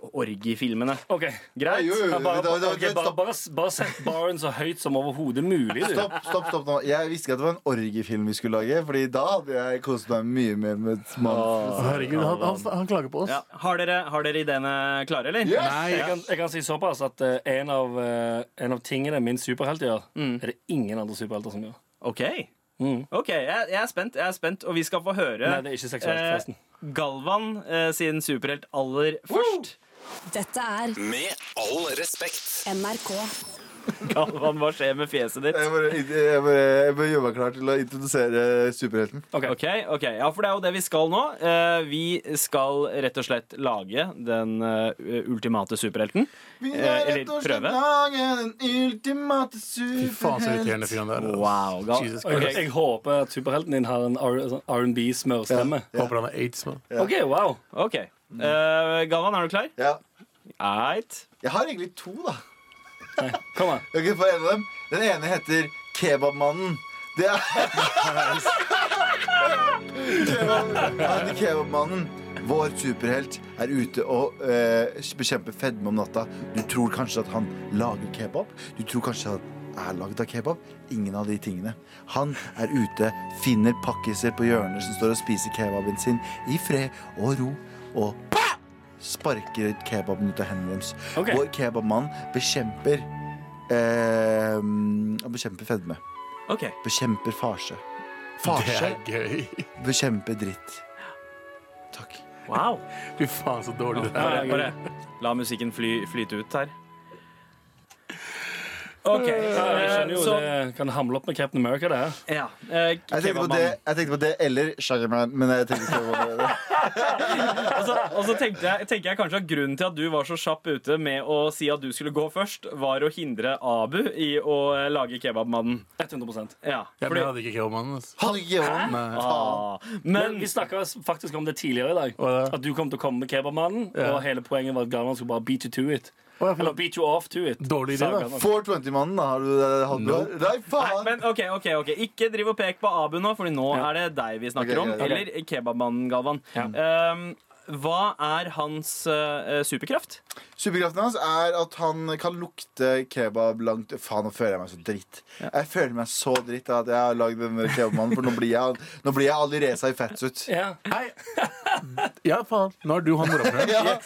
Speaker 3: superhelt-orgiefilmene.
Speaker 5: OK.
Speaker 3: Greit?
Speaker 2: Jo, jo, jo,
Speaker 5: Ja, Bare,
Speaker 2: da- da-
Speaker 5: ok, bare,
Speaker 2: Stopp,
Speaker 5: bare, bare sett baren så høyt som overhodet mulig. Du.
Speaker 2: stopp, stopp, stopp nå. Jeg visste ikke at det var en orgiefilm vi skulle lage, Fordi da hadde jeg kost meg mye mer med
Speaker 6: Å,
Speaker 2: mann.
Speaker 6: Herregud, han, han, han klager på oss.
Speaker 3: Ja. Har, dere, har dere ideene klare, eller?
Speaker 2: Ja.
Speaker 6: Nei,
Speaker 5: Jeg kan, jeg kan si såpass at eh, en, av, eh, en av tingene min superhelt gjør,
Speaker 2: Mm.
Speaker 5: er det ingen andre superhelter som gjør.
Speaker 3: OK. Ok, jeg, jeg er spent, jeg er spent, og vi skal få høre
Speaker 5: Mm. Nei, det er ikke seksuelt,
Speaker 3: eh,
Speaker 5: forresten.
Speaker 3: Galvan eh, sin superhelt aller først.
Speaker 4: Dette er
Speaker 1: Med all respekt.
Speaker 4: NRK.
Speaker 3: Galvan, hva skjer med fjeset ditt?
Speaker 2: Jeg bare, jeg bare, jeg bare gjør meg klar til å introdusere superhelten.
Speaker 5: Ok.
Speaker 3: Ok, ok, ja, for det er jo det vi skal nå. Eh, vi skal rett og slett lage den eh, ultimate superhelten.
Speaker 2: Vi
Speaker 3: Eh,
Speaker 2: er rett
Speaker 3: eller
Speaker 2: og slett
Speaker 3: prøve.
Speaker 2: lage den ultimate
Speaker 6: Fy faen, så
Speaker 2: superhelt.
Speaker 6: irriterende fyr han der. altså.
Speaker 3: Wow, gal.
Speaker 6: Jesus
Speaker 5: Og
Speaker 6: Christ.
Speaker 5: Jeg, jeg håper at superhelten din har en R- sånn R&B-smørstemme.
Speaker 6: Håper han har aids. Man.
Speaker 5: OK, wow.
Speaker 3: Ok, eh, Galvan, er du klar?
Speaker 2: Ja.
Speaker 3: Eit.
Speaker 2: Jeg har egentlig to, da.
Speaker 5: Kom an.
Speaker 2: Jeg kan få en av dem. Den ene heter Kebabmannen. Det er Kebab, han er kebabmannen. Vår superhelt er ute og eh, bekjemper fedme om natta. Du tror kanskje at han lager kebab? Du tror kanskje han er laget av kebab? Ingen av de tingene. Han er ute, finner pakkiser på hjørner som står og spiser kebaben sin i fred og ro, og bah! sparker kebaben ut av hendene deres.
Speaker 5: Ok.
Speaker 2: Vår kebabmann bekjemper eh, Han bekjemper fedme.
Speaker 3: Ok,
Speaker 2: Bekjemper farse.
Speaker 6: Det
Speaker 2: Farse
Speaker 6: er gøy.
Speaker 2: bekjempe dritt. Takk.
Speaker 3: wow.
Speaker 6: Fy faen, så dårlig det
Speaker 3: Bare,
Speaker 6: er.
Speaker 3: bare la musikken fly, flyte ut her. OK.
Speaker 5: Jeg
Speaker 3: eh,
Speaker 5: skjønner jo
Speaker 3: så,
Speaker 5: det kan hamle opp med Captain America, det her.
Speaker 3: ja, eh,
Speaker 2: Jeg tenkte, på
Speaker 3: kebabmannen.
Speaker 2: det, jeg tenkte på det eller Shaggerman, men jeg tenkte ikke på det.
Speaker 3: Og så, og så tenkte jeg, tenker jeg kanskje at grunnen til at du var så kjapp ute med å si at du skulle gå først, var å hindre Abu i å eh, lage kebabmannen.
Speaker 5: 100
Speaker 3: Ja,
Speaker 6: Jeg
Speaker 3: fordi,
Speaker 6: hadde ikke kebabmannen. Altså.
Speaker 2: Han gikk gjennom.
Speaker 3: ah,
Speaker 5: Men
Speaker 3: men
Speaker 5: vi snakka faktisk om det tidligere i dag.
Speaker 6: Hva da?
Speaker 5: At du kom til å komme med kebabmannen.
Speaker 6: Ja.
Speaker 5: Og hele poenget var at Garland skulle bare beat you to it.
Speaker 6: Å, jeg får-
Speaker 5: Eller beat you off to it.
Speaker 6: Dårlig idé,
Speaker 5: Saga
Speaker 6: da.
Speaker 5: nok.
Speaker 2: 420-mannen, da, har du det? Hadde du det? Nei,
Speaker 3: Nei,
Speaker 2: faen!
Speaker 3: men ok, ok, ok Ikke driv og pek på Abu nå, Fordi nå
Speaker 5: Ja.
Speaker 3: er det deg vi snakker
Speaker 2: Ok,
Speaker 3: om.
Speaker 2: ok, ok.
Speaker 3: Eller kebabmannen Galvan. Ehm, hva er hans eh, superkraft?
Speaker 2: Superkraften hans er at han kan lukte kebab langt Faen, nå føler jeg meg så dritt. Jeg føler meg så dritt av at jeg har lagd denne kebabmannen, for nå blir jeg, nå blir jeg Ali Reza i Fatsuit.
Speaker 5: Ja.
Speaker 6: Hei. Ja, faen. Nå er du han morapuleren.
Speaker 2: Ja.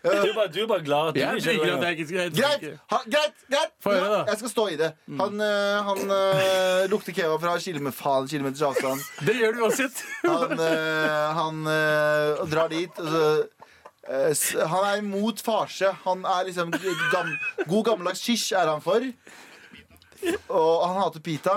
Speaker 5: Du, er bare, du er bare glad at du
Speaker 6: Jeg
Speaker 5: ikke
Speaker 6: digger at jeg ikke skal jeg
Speaker 2: Greit!
Speaker 6: digger-
Speaker 2: Ha, greit! greit
Speaker 6: Få høre, da.
Speaker 2: Jeg skal stå i det. Han, eh, han eh, lukter kebab fra km, faen, kilometers avstand.
Speaker 6: Det gjør du uansett.
Speaker 2: Han, eh, han eh, drar dit. Og så, eh, s- han er imot farse. Han er liksom gam, God gammeldags kysj er han for. Og han hater pita.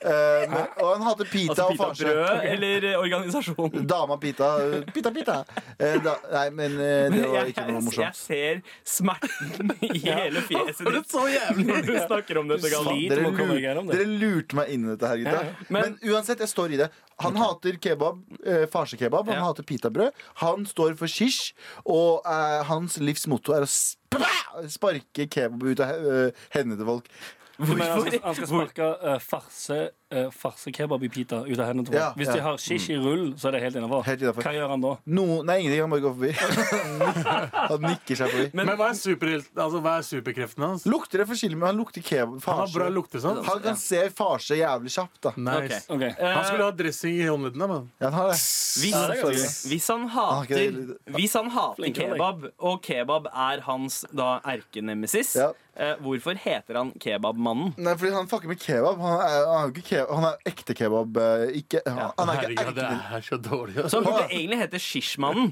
Speaker 2: Eh, men, og han hater pita
Speaker 3: Altså
Speaker 2: og
Speaker 3: pita
Speaker 2: farse.
Speaker 3: brød eller eh, organisasjon?
Speaker 2: Dama pita. Pita, pita. Eh, da, nei, men eh, det var
Speaker 3: Jeg,
Speaker 2: ikke noe
Speaker 3: jeg
Speaker 2: morsomt.
Speaker 3: ser smerten i hele fjeset
Speaker 6: Det er
Speaker 3: ditt
Speaker 6: så jævlig.
Speaker 3: når du snakker om dette, Galvan.
Speaker 5: Slit.
Speaker 2: Dere,
Speaker 5: må komme deg
Speaker 2: lur,
Speaker 5: gjennom det.
Speaker 2: dere lurte meg inn i dette her, gutta. Men,
Speaker 3: Men-
Speaker 2: uansett, jeg står i det. Han hater kebab, eh, farsekebab, han
Speaker 3: Ja.
Speaker 2: hater pitabrød. Han står for shish, og eh, hans livs motto er å spa- sparke kebab ut av eh, hendene til folk.
Speaker 5: Du mener han skal, han skal sparke eh, farse, eh, farsekebab i pita ut av hendene til folk.
Speaker 2: Ja,
Speaker 5: Hvis de
Speaker 2: ja.
Speaker 5: har shish i rull, så er det helt innafor.
Speaker 2: Helt innenfor.
Speaker 5: Hva gjør han da?
Speaker 2: No, nei, ingenting. Han bare går forbi. han nikker seg forbi.
Speaker 6: Men hva er, superhelt, altså, hva er superkreftene hans?
Speaker 2: Lukter det forskjellig, men han lukter kebab.
Speaker 6: Han har
Speaker 2: Farse.
Speaker 6: bra luktesans.
Speaker 2: Han kan se farse jævlig kjapt, da.
Speaker 6: Nice.
Speaker 5: Ok.
Speaker 6: Han skulle ha dressing i håndleddene. men
Speaker 2: Ja, han har det.
Speaker 3: Hvis,
Speaker 5: Ja, det er ganske
Speaker 3: hvis, han
Speaker 2: Ah, ok,
Speaker 3: hater,
Speaker 2: det-
Speaker 3: hvis han hater
Speaker 5: Flink, Henrik.
Speaker 3: kebab, og kebab er hans da erkenemesis,
Speaker 2: Ja.
Speaker 3: eh, hvorfor heter han Kebabmannen?
Speaker 2: Nei, fordi han fucker med kebab. Han er, han er, jo ikke kebab. Han er ekte kebab. eh, Ikke, han, han er ikke
Speaker 6: Herregud, det er så dårlig.
Speaker 3: Så
Speaker 6: Altså.
Speaker 3: han burde egentlig hete Shishmannen.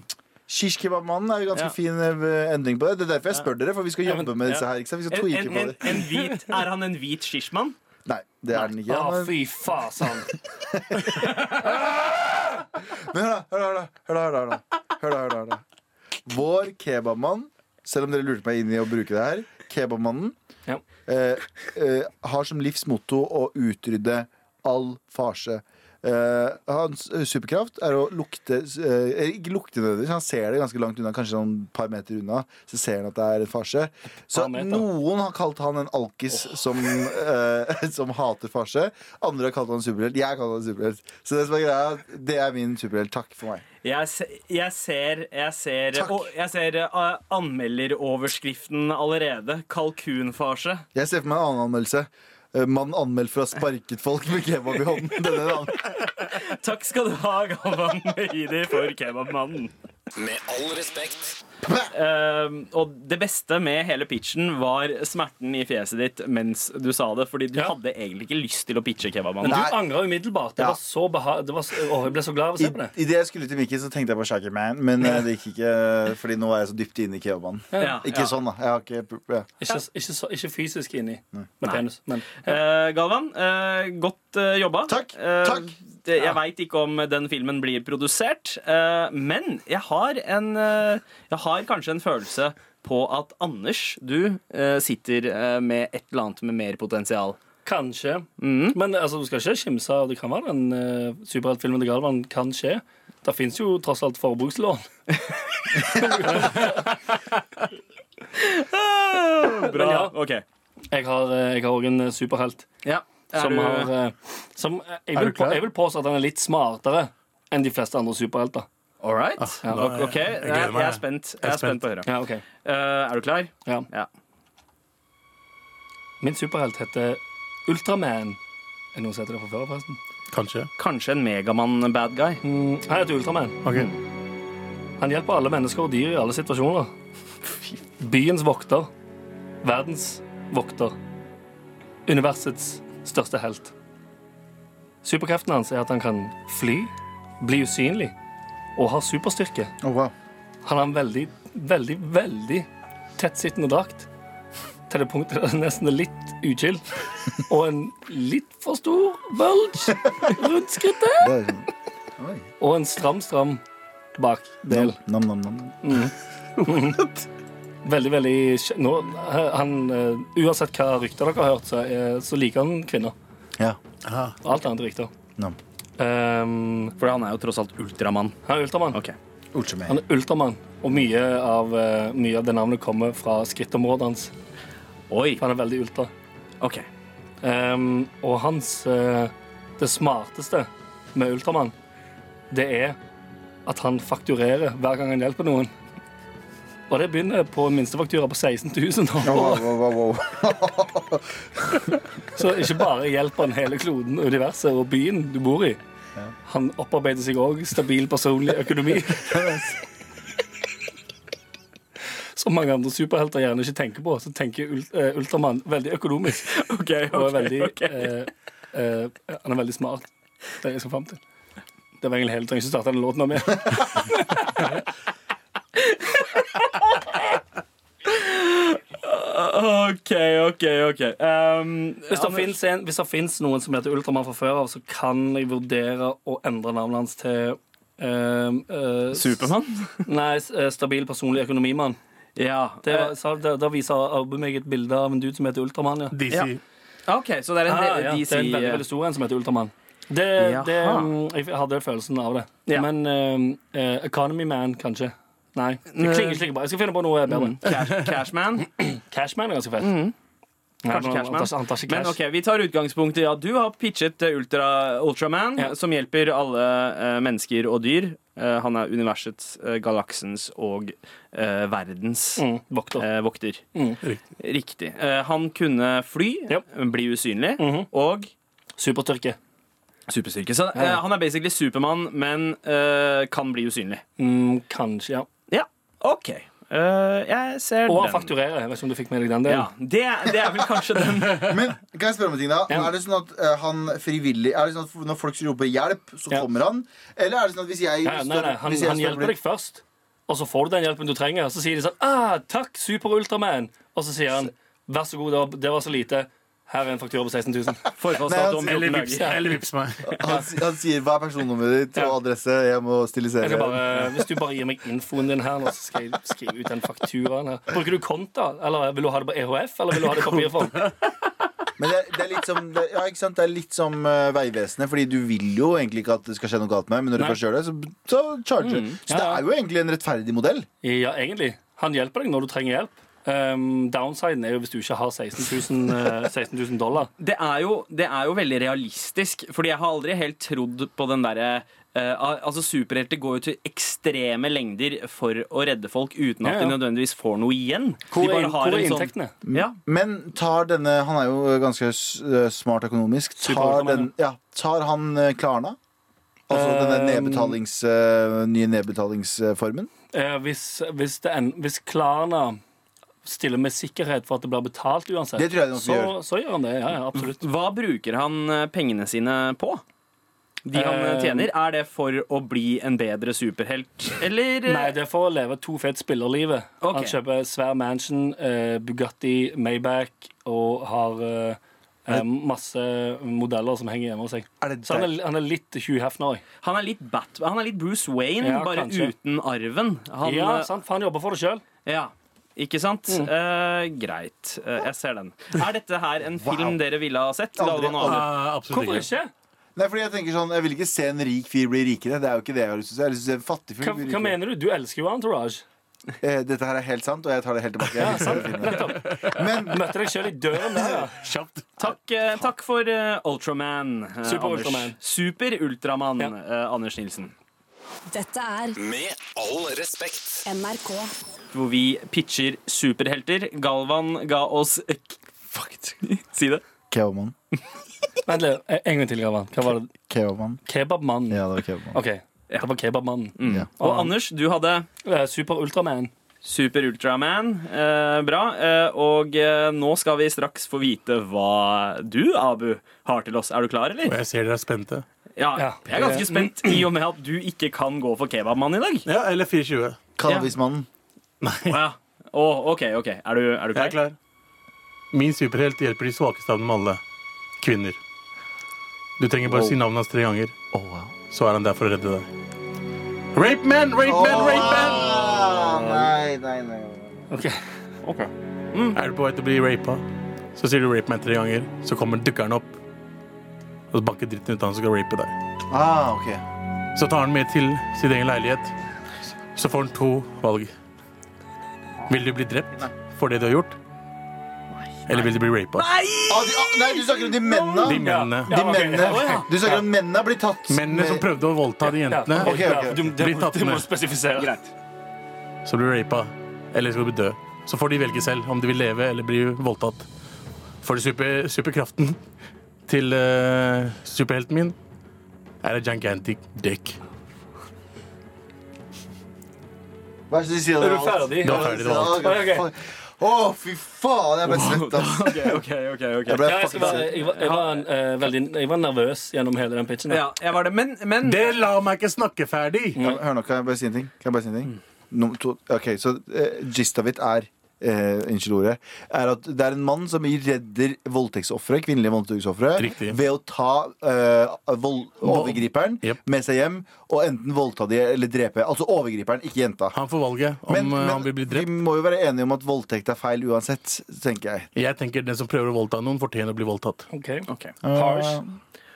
Speaker 2: Shishkebabmannen er jo ganske
Speaker 3: Ja.
Speaker 2: fin eh, endring på det. Det er derfor jeg spør dere, for vi skal
Speaker 5: men-
Speaker 2: jobbe med
Speaker 5: ja.
Speaker 2: disse her. Ikke sant? Vi skal
Speaker 3: En,
Speaker 2: tweake
Speaker 3: en,
Speaker 2: på
Speaker 3: en,
Speaker 2: det.
Speaker 3: en hvit, er han en hvit shishmann?
Speaker 2: Nei, det er den ikke.
Speaker 5: Ah,
Speaker 2: Men,
Speaker 5: fy fasan.
Speaker 2: men hør, da, hør, da, hør, da, hør, da, hør, da, hør, da, hør, da, hør, da. Vår kebabmann, selv om dere lurte meg inn i å bruke det her, kebabmannen
Speaker 5: Ja.
Speaker 2: eh, eh, har som livsmotto å utrydde all farse. Eh, hans eh, superkraft er å lukte eh, Ikke lukte nødvendigvis, han ser det ganske langt unna, kanskje noen par meter unna. Så ser han at det er en farse. Så
Speaker 5: par meter.
Speaker 2: noen har kalt han en alkis som, eh, som hater farse. Andre har kalt han en superhelt. Jeg har kalt han en superhelt. Så det som er greia, er at det er min superhelt. Takk for meg.
Speaker 3: Jeg, se, jeg ser, jeg ser,
Speaker 2: Takk.
Speaker 3: å, jeg ser eh, anmelderoverskriften allerede. Kalkunfarse.
Speaker 2: Jeg ser for meg en annen anmeldelse. Eh, Mann anmeldt for å ha sparket folk med kebab i hånden. Den er en annen.
Speaker 3: Takk skal du ha, Galvan Mehidi, for Kebabmannen.
Speaker 1: Med all respekt.
Speaker 3: Eh, og det beste med hele pitchen var smerten i fjeset ditt mens du sa det, fordi du
Speaker 5: Ja.
Speaker 3: hadde egentlig ikke lyst til å pitche
Speaker 5: Du
Speaker 3: kebabmannen.
Speaker 2: Nei.
Speaker 5: angra umiddelbart. Det
Speaker 2: Ja.
Speaker 5: var så beha det var så, Åh, jeg ble så glad av å se på det.
Speaker 2: I, Idet jeg skulle til Mikkel, så tenkte jeg på Shaggy Man, men eh, det gikk ikke. eh, Fordi nå er jeg så dypt inne i kebaben.
Speaker 3: Ja,
Speaker 2: Ikke
Speaker 3: ja.
Speaker 2: sånn, da. Jeg har ikke pu- ja.
Speaker 5: Ikke, ikke, så, ikke fysisk inni, med penis. Men
Speaker 3: Eh, Galvan, eh, godt eh, jobba.
Speaker 2: Takk,
Speaker 3: Eh,
Speaker 2: takk.
Speaker 3: det, jeg veit ikke om den filmen blir produsert, eh, men jeg har en eh, Jeg har kanskje en følelse på at Anders, du eh, sitter eh, med et eller annet med mer potensial. Mm.
Speaker 5: kanskje. Men altså, du skal ikke skimse av det kan være en uh, superheltfilm til Galvan kan skje. Det fins jo tross alt forbrukslån.
Speaker 3: Bra.
Speaker 5: ja.
Speaker 3: OK.
Speaker 5: Jeg har eh, jeg har òg en eh, superhelt.
Speaker 3: Ja. Er
Speaker 5: Som
Speaker 3: du-
Speaker 5: har eh, som, eh, jeg,
Speaker 6: Er
Speaker 5: vil
Speaker 6: du
Speaker 5: på,
Speaker 6: klar?
Speaker 5: jeg vil påstå at han er litt smartere enn de fleste andre superhelter.
Speaker 3: All right.
Speaker 5: ja.
Speaker 3: Ah, Ok, ok, Jeg,
Speaker 6: gleder meg.
Speaker 3: jeg er spent. Jeg er spent på å høre.
Speaker 5: Ja, ok
Speaker 3: Eh, er du klar?
Speaker 5: ja.
Speaker 3: Ja.
Speaker 5: Min superhelt heter Ultraman. Er det noen som heter det fra før, forresten?
Speaker 6: Kanskje.
Speaker 3: Kanskje en megamann-bad guy.
Speaker 5: Mm, han heter Ultraman.
Speaker 6: Ok.
Speaker 5: Han hjelper alle mennesker og dyr i alle situasjoner. Byens vokter. Verdens vokter. Universets største helt. Superkreften hans er at han kan fly, bli usynlig og har superstyrke.
Speaker 2: Å, wow.
Speaker 5: Han har en veldig, veldig, veldig tettsittende drakt. Til det punktet der det nesten er litt uchill. Og en litt for stor bulge rundt skrittet.
Speaker 2: Det er sånn. Oi.
Speaker 5: Og en stram, stram bakdel.
Speaker 2: Nam, nam, nam.
Speaker 5: Veldig, veldig kj- nå, han, eh, Uansett hva rykter dere har hørt, så, er- så liker han kvinner.
Speaker 2: Ja.
Speaker 5: Alt annet er rykter.
Speaker 2: Nam.
Speaker 5: Um,
Speaker 3: For han er jo tross alt ultramann.
Speaker 5: han er ultramann.
Speaker 3: Ok.
Speaker 5: Han er ultramann, og mye av, eh, mye av det navnet kommer fra skrittområdet hans.
Speaker 3: Oi.
Speaker 5: Han er veldig ultra.
Speaker 3: Ok.
Speaker 5: Ehm, og hans eh, Det smarteste med Ultramann, det er at han fakturerer hver gang han hjelper noen. Og det begynner på en minstefaktura på 16 000 om året.
Speaker 2: wow, wow, wow.
Speaker 5: Så ikke bare hjelper han hele kloden, universet og byen du bor i. Han opparbeider seg òg stabil personlig økonomi. Som mange andre superhelter gjerne ikke tenker på, så tenker Ult eh, Ultramann veldig økonomisk. og er veldig, eh, eh, han er veldig smart. Det er det jeg skal fram til. Det var egentlig hele trenger ikke starte den låten om igjen.
Speaker 3: OK, OK, OK. Um,
Speaker 5: Hvis det
Speaker 3: Anders-
Speaker 5: finnes en- Hvis det fins noen som heter Ultramann fra før av, så kan jeg vurdere å endre navnet hans til eh, eh,
Speaker 3: Supermann?
Speaker 5: Nei, s- eh, stabil personlig økonomimann.
Speaker 3: Ja. Eh,
Speaker 5: Det var, sa- da, da viser albumet meg et bilde av en dude som heter Ultramann. Ja.
Speaker 6: DC.
Speaker 3: Ja. OK, så det er en
Speaker 5: Ah, ja,
Speaker 3: DC
Speaker 5: det er en veldig, veldig stor en som heter Ultramann. Det, det,
Speaker 3: Jaha.
Speaker 5: mm, jeg hadde følelsen av det.
Speaker 3: Ja.
Speaker 5: Men eh, eh, Economy Man, kanskje. Nei, det klinger ikke like bra. Jeg skal finne på noe bedre.
Speaker 3: eh, Cash, Cashman.
Speaker 5: Cashman er ganske fett. Nei,
Speaker 3: Mm. Kanskje
Speaker 5: men han-
Speaker 3: Cashman.
Speaker 5: Han tar, ikke- han tar ikke
Speaker 3: Men
Speaker 5: cash.
Speaker 3: ok, vi tar utgangspunkt i at du har pitchet eh, Ultra, Ultraman,
Speaker 5: Ja.
Speaker 3: som hjelper alle eh, mennesker og dyr. Eh, han er universets, eh, galaksens og eh, verdens
Speaker 5: Mm, vokter.
Speaker 3: eh, vokter.
Speaker 6: Riktig.
Speaker 3: Riktig. Eh, han kunne fly,
Speaker 5: Yep.
Speaker 3: bli usynlig,
Speaker 5: Mm-hmm.
Speaker 3: og
Speaker 5: Supertørke.
Speaker 3: Superstyrke. Så eh, han er basically Supermann, men eh, kan bli usynlig.
Speaker 5: Mm, kanskje, ja.
Speaker 3: Ja, OK. Eh, jeg ser
Speaker 5: Og han
Speaker 3: den.
Speaker 5: fakturerer. Jeg vet ikke om du fikk med deg den
Speaker 3: Ja,
Speaker 5: delen.
Speaker 3: det, det er vel kanskje den.
Speaker 2: Men kan jeg spørre om en ting da?
Speaker 5: Ja.
Speaker 2: Er det sånn at eh, han frivillig Er det sånn at når folk roper hjelp, så
Speaker 5: Ja.
Speaker 2: kommer han? Eller er det sånn at hvis jeg
Speaker 5: Ja, nei, nei, han,
Speaker 2: hvis jeg
Speaker 5: han hjelper deg først, og så får du den hjelpen du trenger. Så sier de sånn ah, 'Takk, Super-Ultraman'. Og så sier han 'Vær så god, det var, det var så lite'. Her er en faktura på 16 000.
Speaker 3: Forfallsdato om
Speaker 5: altså,
Speaker 2: Nei,
Speaker 6: Eller
Speaker 3: 14
Speaker 6: vips,
Speaker 3: dager.
Speaker 6: eller vips meg.
Speaker 2: han, han sier hva er personnummeret ditt og adresse? Jeg må
Speaker 5: Jeg
Speaker 2: stilisere.
Speaker 5: skal bare, hvis du bare gir meg infoen din her, nå, så skal jeg skrive ut den fakturaen her. Bruker du konta, eller vil du ha det på EHF, eller vil du ha det i papirform?
Speaker 2: Men det, det er litt som, det, ja, ikke sant? Det er litt som eh, Vegvesenet, Fordi du vil jo egentlig ikke at det skal skje noe galt med deg, men når
Speaker 5: Nei. Mm.
Speaker 2: du først gjør det, så, så charger du. Så det
Speaker 5: ja.
Speaker 2: er jo egentlig en rettferdig modell.
Speaker 5: Ja, egentlig. Han hjelper deg når du trenger hjelp. Um, downsiden er jo hvis du ikke har 16 000, eh, 16 000 dollar.
Speaker 3: det er, jo, det er jo veldig realistisk, fordi jeg har aldri helt trodd på den derre eh, al- altså Superhelter går jo til ekstreme lengder for å redde folk uten at
Speaker 5: Ja, ja.
Speaker 3: de nødvendigvis får noe igjen.
Speaker 5: Hvor
Speaker 3: de
Speaker 5: er,
Speaker 3: bare har
Speaker 5: hvor er
Speaker 3: en sånn
Speaker 5: inntektene?
Speaker 3: ja.
Speaker 2: Men tar denne Han er jo ganske s- eh, smart økonomisk. Tar,
Speaker 5: Supermann,
Speaker 2: den, ja, tar han eh, Klarna? Altså
Speaker 5: Eh,
Speaker 2: denne nedbetalings, eh, nye nedbetalingsformen?
Speaker 5: Eh, hvis, hvis, det en, hvis Klarna stiller med sikkerhet for at det blir betalt uansett,
Speaker 2: Det tror jeg de også
Speaker 5: så,
Speaker 2: gjør.
Speaker 5: så gjør han det. Ja, ja, absolutt.
Speaker 3: Hva bruker han eh, pengene sine på? De han eh,
Speaker 5: Eh,
Speaker 3: tjener? Er det for å bli en bedre superhelt, eller eh,
Speaker 5: Nei, det er for å leve to fett spillerlivet.
Speaker 3: Ok.
Speaker 5: Han kjøper svær mansion, eh, Bugatti, Maybach og har eh, eh, masse modeller som henger hjemme hos seg.
Speaker 2: Er det
Speaker 5: Så han er, han er litt Hugh Hefner òg.
Speaker 3: han, er litt Bat han er litt Bruce Wayne,
Speaker 5: Ja,
Speaker 3: bare
Speaker 5: kanskje.
Speaker 3: uten arven. Han,
Speaker 5: Ja,
Speaker 3: eh,
Speaker 5: sant, Mm. for han jobber for det sjøl.
Speaker 3: Ja, ikke sant? Eh, greit, Eh, jeg ser den. Er dette her en film dere ville ha sett?
Speaker 2: Aldri,
Speaker 3: Galvan og Abu?
Speaker 6: Ah, absolutt
Speaker 5: Hvorfor
Speaker 6: ikke.
Speaker 5: ikke?
Speaker 2: Nei, fordi Jeg tenker sånn, jeg vil ikke se en rik fyr bli rikere. Det er jo ikke det jeg har lyst til å se. Jeg har lyst til å se en fattig fyr
Speaker 5: Hva,
Speaker 2: bli
Speaker 5: hva
Speaker 2: rikere.
Speaker 5: mener du? Du elsker jo Entourage.
Speaker 2: Eh, dette her er helt sant, og jeg tar det helt tilbake. Jeg vil se den filmen. Men
Speaker 5: Møtte deg sjøl i døren der, ja.
Speaker 6: Kjapt.
Speaker 3: Takk, eh, takk for eh, Ultraman, eh,
Speaker 5: Super
Speaker 3: Anders.
Speaker 5: Ultraman.
Speaker 3: Super Ultraman,
Speaker 5: Ja.
Speaker 3: eh, Anders Nilsen.
Speaker 4: Dette er
Speaker 1: Med all respekt.
Speaker 4: NRK.
Speaker 3: Hvor vi pitcher superhelter. Galvan ga oss Fuck, si det.
Speaker 2: Keoman.
Speaker 5: Vent litt, eh, en gang til, Gavan. Hva var det?
Speaker 2: Keoman.
Speaker 5: Kebabmann.
Speaker 2: Ja, det var Keoman.
Speaker 5: OK. Det var Kebabmannen.
Speaker 3: Og Anders, du hadde
Speaker 5: Eh, Super Ultraman.
Speaker 3: Super Ultraman. Eh, bra. Eh, og eh, nå skal vi straks få vite hva du, Abu, har til oss. Er du klar, eller?
Speaker 6: Og jeg ser dere er spente.
Speaker 3: Ja,
Speaker 5: Ja.
Speaker 3: jeg er ganske spent i og med at du ikke kan gå for kebabmann i dag.
Speaker 6: Ja, eller 420.
Speaker 2: Cannabismannen.
Speaker 3: Å, ja. Å, ok, ok. Er du, er du
Speaker 6: Jeg
Speaker 3: klar?
Speaker 6: er klar. Min superhelt hjelper de svakeste av dem alle. Kvinner. Du trenger bare si navnet hans tre ganger,
Speaker 2: Oh,
Speaker 6: så er han der for å redde deg. Rape men, rape men, rape men!
Speaker 2: nei, nei, nei.
Speaker 5: Ok.
Speaker 6: Mm. Er du på vei til å bli rapa, så sier du rape man tre ganger, så kommer dukkeren opp. Og så banker dritten ut av han som skal rape deg.
Speaker 2: Ah, ok.
Speaker 6: Så tar han med til sin egen leilighet. så får han to valg. Vil du bli drept for det du har gjort? Eller vil du bli rapa?
Speaker 2: Ah, de, ah, nei, du snakker om de mennene.
Speaker 6: De mennene.
Speaker 2: De
Speaker 5: Ja, ok.
Speaker 2: mennene.
Speaker 5: Å, ja.
Speaker 2: Du snakker om mennene blir tatt
Speaker 6: Mennene som prøvde å voldta de
Speaker 5: Ja,
Speaker 6: jentene,
Speaker 2: ok, ok.
Speaker 5: Du, det,
Speaker 6: Bli tatt
Speaker 5: det må
Speaker 6: med.
Speaker 5: du spesifisere.
Speaker 6: så blir du rapa. Eller så blir du død. Så får de velge selv om de vil leve eller bli voldtatt. Får du super, superkraften til eh, superhelten min, er det gigantic dick.
Speaker 2: Vær så snill, si det.
Speaker 5: Er du ferdig?
Speaker 6: Da er det det var alt.
Speaker 2: Å,
Speaker 5: Ok, ok.
Speaker 2: fy faen, jeg ble svett, ass.
Speaker 3: Ok, ok, ok, ok.
Speaker 2: Jeg ble
Speaker 5: Ja, jeg, skal
Speaker 2: fucking
Speaker 5: være,
Speaker 2: svett.
Speaker 5: jeg, var, jeg, var en, eh, veldig, jeg var nervøs gjennom hele den pitchen. da.
Speaker 3: Ja, jeg var det. Men, men
Speaker 6: Det la meg ikke snakke ferdig!
Speaker 2: Hør nå, kan jeg bare si en ting? Kan jeg bare si en ting? Nummer to, ok, så eh, gist av it er Eh, unnskyld ordet Er at det er en mann som redder voldtektsofre Kvinnelige voldtektsofre
Speaker 6: Riktig.
Speaker 2: Ved å ta eh, vold, overgriperen
Speaker 6: Yep.
Speaker 2: Med seg hjem Og enten voldta de eller drepe Altså overgriperen, ikke jenta
Speaker 6: Han får valget om eh, han vil bli drept.
Speaker 2: vi må jo være enige om at voldtekt er feil uansett, tenker jeg.
Speaker 6: Jeg tenker Den som prøver å voldta noen, fortjener å bli voldtatt.
Speaker 5: Ok.
Speaker 3: Ok.
Speaker 5: Harsh,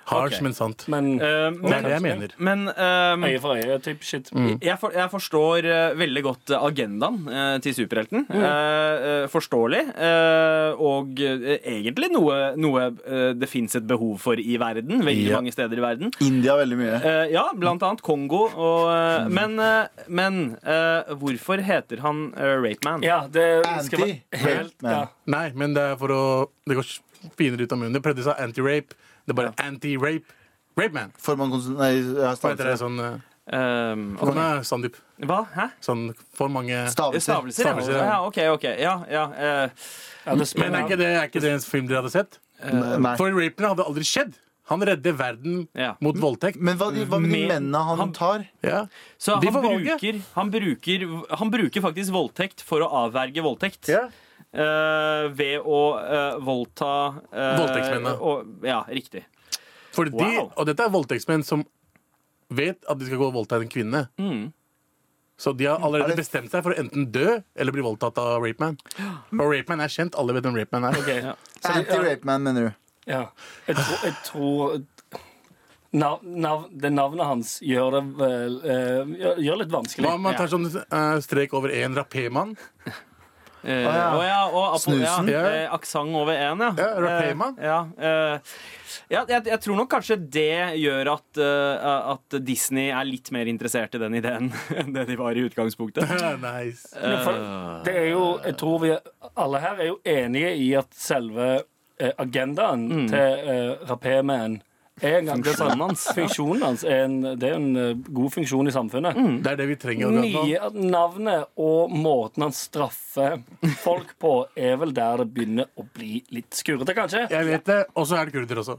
Speaker 6: Harsh,
Speaker 3: Ok.
Speaker 6: men sant.
Speaker 5: men
Speaker 3: Eh,
Speaker 6: Det er
Speaker 3: men,
Speaker 6: det jeg mener.
Speaker 3: men eh,
Speaker 5: øye for øye type shit.
Speaker 3: jeg, for, jeg forstår eh, veldig godt eh, agendaen eh, til superhelten. Eh, eh, forståelig. eh, og eh, egentlig noe, noe eh, det fins et behov for i verden. Veldig
Speaker 6: Ja.
Speaker 3: mange steder i verden.
Speaker 2: India veldig mye.
Speaker 3: Eh, ja, blant annet Kongo. Og, eh, men eh, men eh, hvorfor heter han uh, Rape Man?
Speaker 5: Ja, det skal
Speaker 2: Anti.
Speaker 5: være
Speaker 2: Helt,
Speaker 5: helt ja.
Speaker 6: Nei, men det er for å Det går finere ut av munnen. Jeg prøvde å si anti-rape. Det er bare anti-rape. Rape man.
Speaker 2: Får man konsent... Nei, jeg har
Speaker 6: Hva heter det
Speaker 2: stavelser.
Speaker 6: sånn eh, sånn,
Speaker 3: Eh, ok.
Speaker 6: Nei, Sandeep.
Speaker 3: Hva? Hæ?
Speaker 6: Sånn for mange
Speaker 2: Stavelser.
Speaker 3: Stavelser,
Speaker 6: Stavelser,
Speaker 3: ja.
Speaker 6: ja.
Speaker 3: ja. OK, ok. Ja, ja. eh,
Speaker 5: Ja, det spiller-
Speaker 6: Men er ikke det, er ikke det en film dere hadde sett?
Speaker 2: Nei.
Speaker 6: For rapen hadde aldri skjedd. Han redder verden
Speaker 3: Ja.
Speaker 6: mot voldtekt.
Speaker 2: Men hva, hva med de
Speaker 3: Men-
Speaker 2: mennene han,
Speaker 3: han-
Speaker 2: tar?
Speaker 6: Ja.
Speaker 3: Så
Speaker 6: De
Speaker 3: han
Speaker 6: får valget.
Speaker 3: bruker, han, bruker, han bruker faktisk voldtekt for å avverge voldtekt. Eh, ved å eh, voldta eh,
Speaker 6: Voldtektsmennene.
Speaker 3: og- Ja, riktig.
Speaker 6: Fordi de,
Speaker 3: Wow.
Speaker 6: og dette er voldtektsmenn som vet at de skal gå og voldta en kvinne.
Speaker 5: Mm.
Speaker 6: Så de har
Speaker 2: Er
Speaker 6: allerede
Speaker 2: det-
Speaker 6: bestemt seg for å enten dø eller bli voldtatt av Rapeman. Og Rapeman er kjent. Alle vet hvem Rapeman er.
Speaker 5: Ok.
Speaker 2: Anti-rape man, mener du?
Speaker 5: Ja. Jeg tror, jeg tror nav, nav, Det navnet hans gjør det vel eh, gjør, gjør litt vanskelig.
Speaker 6: Hva om man tar sånn eh, strek over én rapémann?
Speaker 3: Eh,
Speaker 2: Å, ja.
Speaker 3: å ja, og apo, ja,
Speaker 2: Snusen.
Speaker 6: Ja.
Speaker 3: eh, Aksent over én, ja.
Speaker 6: Ja, rapema.
Speaker 3: Eh, ja, eh, ja jeg, jeg tror nok kanskje det gjør at, eh, at Disney er litt mer interessert i den ideen enn det de var i utgangspunktet.
Speaker 6: nice.
Speaker 5: Men for- Det er jo, jeg tror vi alle her er jo enige i at selve eh, agendaen
Speaker 6: Mm.
Speaker 5: til eh, Rapé-Man er en gang,
Speaker 3: Funksjonen hans.
Speaker 5: Funksjonen hans er en, det er jo en eh, god funksjon i samfunnet.
Speaker 6: Det er Mm. det vi trenger. akkurat nå.
Speaker 5: Mye av navnet og måten han straffer folk på, er vel der det begynner å bli litt skurrete, kanskje?
Speaker 6: Jeg vet det. Og så er det kurder også.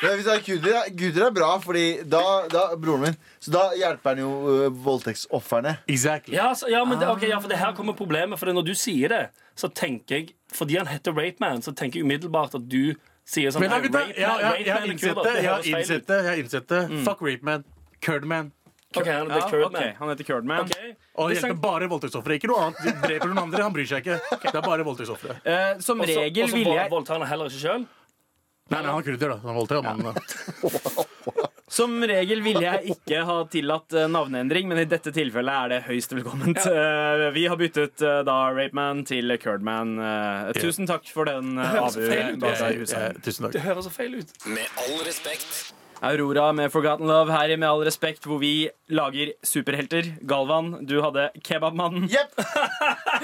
Speaker 2: Men hvis det er guder, ja, guder er bra, fordi da, da Broren min. Så da hjelper han jo øh, voldtektsofrene.
Speaker 6: Exactly.
Speaker 5: Ja, så, ja, men det, ok, ja,
Speaker 6: Ah.
Speaker 5: for det her kommer problemet. For når du sier det, så tenker jeg Fordi han heter Rapeman, så tenker jeg umiddelbart at du sier sånn
Speaker 6: Men da,
Speaker 5: «Nei,
Speaker 6: gutta,
Speaker 5: Rape Man-
Speaker 6: jeg, jeg,
Speaker 5: Rape
Speaker 6: jeg
Speaker 5: Man
Speaker 6: har
Speaker 5: er
Speaker 6: innsett
Speaker 5: Cuba».
Speaker 6: det. Jeg har
Speaker 5: høres feil Mm.
Speaker 6: innsett det. Jeg har innsett det. Fuck Rapeman. Kurdman.
Speaker 5: ut. Ok, han
Speaker 3: Ja,
Speaker 5: heter Curbman.
Speaker 3: ok, han heter Curdman.
Speaker 5: Ok.
Speaker 6: Og
Speaker 5: Det
Speaker 6: hjelper
Speaker 5: sang-
Speaker 6: bare voldtektsofre. Ikke noe annet. De dreper noen andre. Han bryr seg ikke. Det er bare voldtektsofre.
Speaker 3: Eh, som
Speaker 5: Og så-
Speaker 3: regel
Speaker 5: og så
Speaker 3: ville jeg
Speaker 5: vold- voldtar han heller ikke sjøl?
Speaker 6: Nei, nei, han er kurder, da. så Han voldtar jo mannen. da.
Speaker 3: Som regel ville jeg ikke ha tillatt eh, navneendring, men i dette tilfellet er det høyst velkomment. Eh, Vi har byttet eh, da Rapeman til Curdman. Eh, Tusen takk for den eh,
Speaker 5: høres
Speaker 3: avgjørelsen.
Speaker 5: feil ut.
Speaker 3: du ga
Speaker 6: Eh,
Speaker 3: deg, Hussein.
Speaker 6: eh, Tusen
Speaker 5: Det
Speaker 6: takk.
Speaker 5: høres så feil ut.
Speaker 1: Med all respekt.
Speaker 3: Aurora med Forgotten Love her i Med all respekt, hvor vi lager superhelter. Galvan, du hadde Kebabmannen.
Speaker 2: Jepp!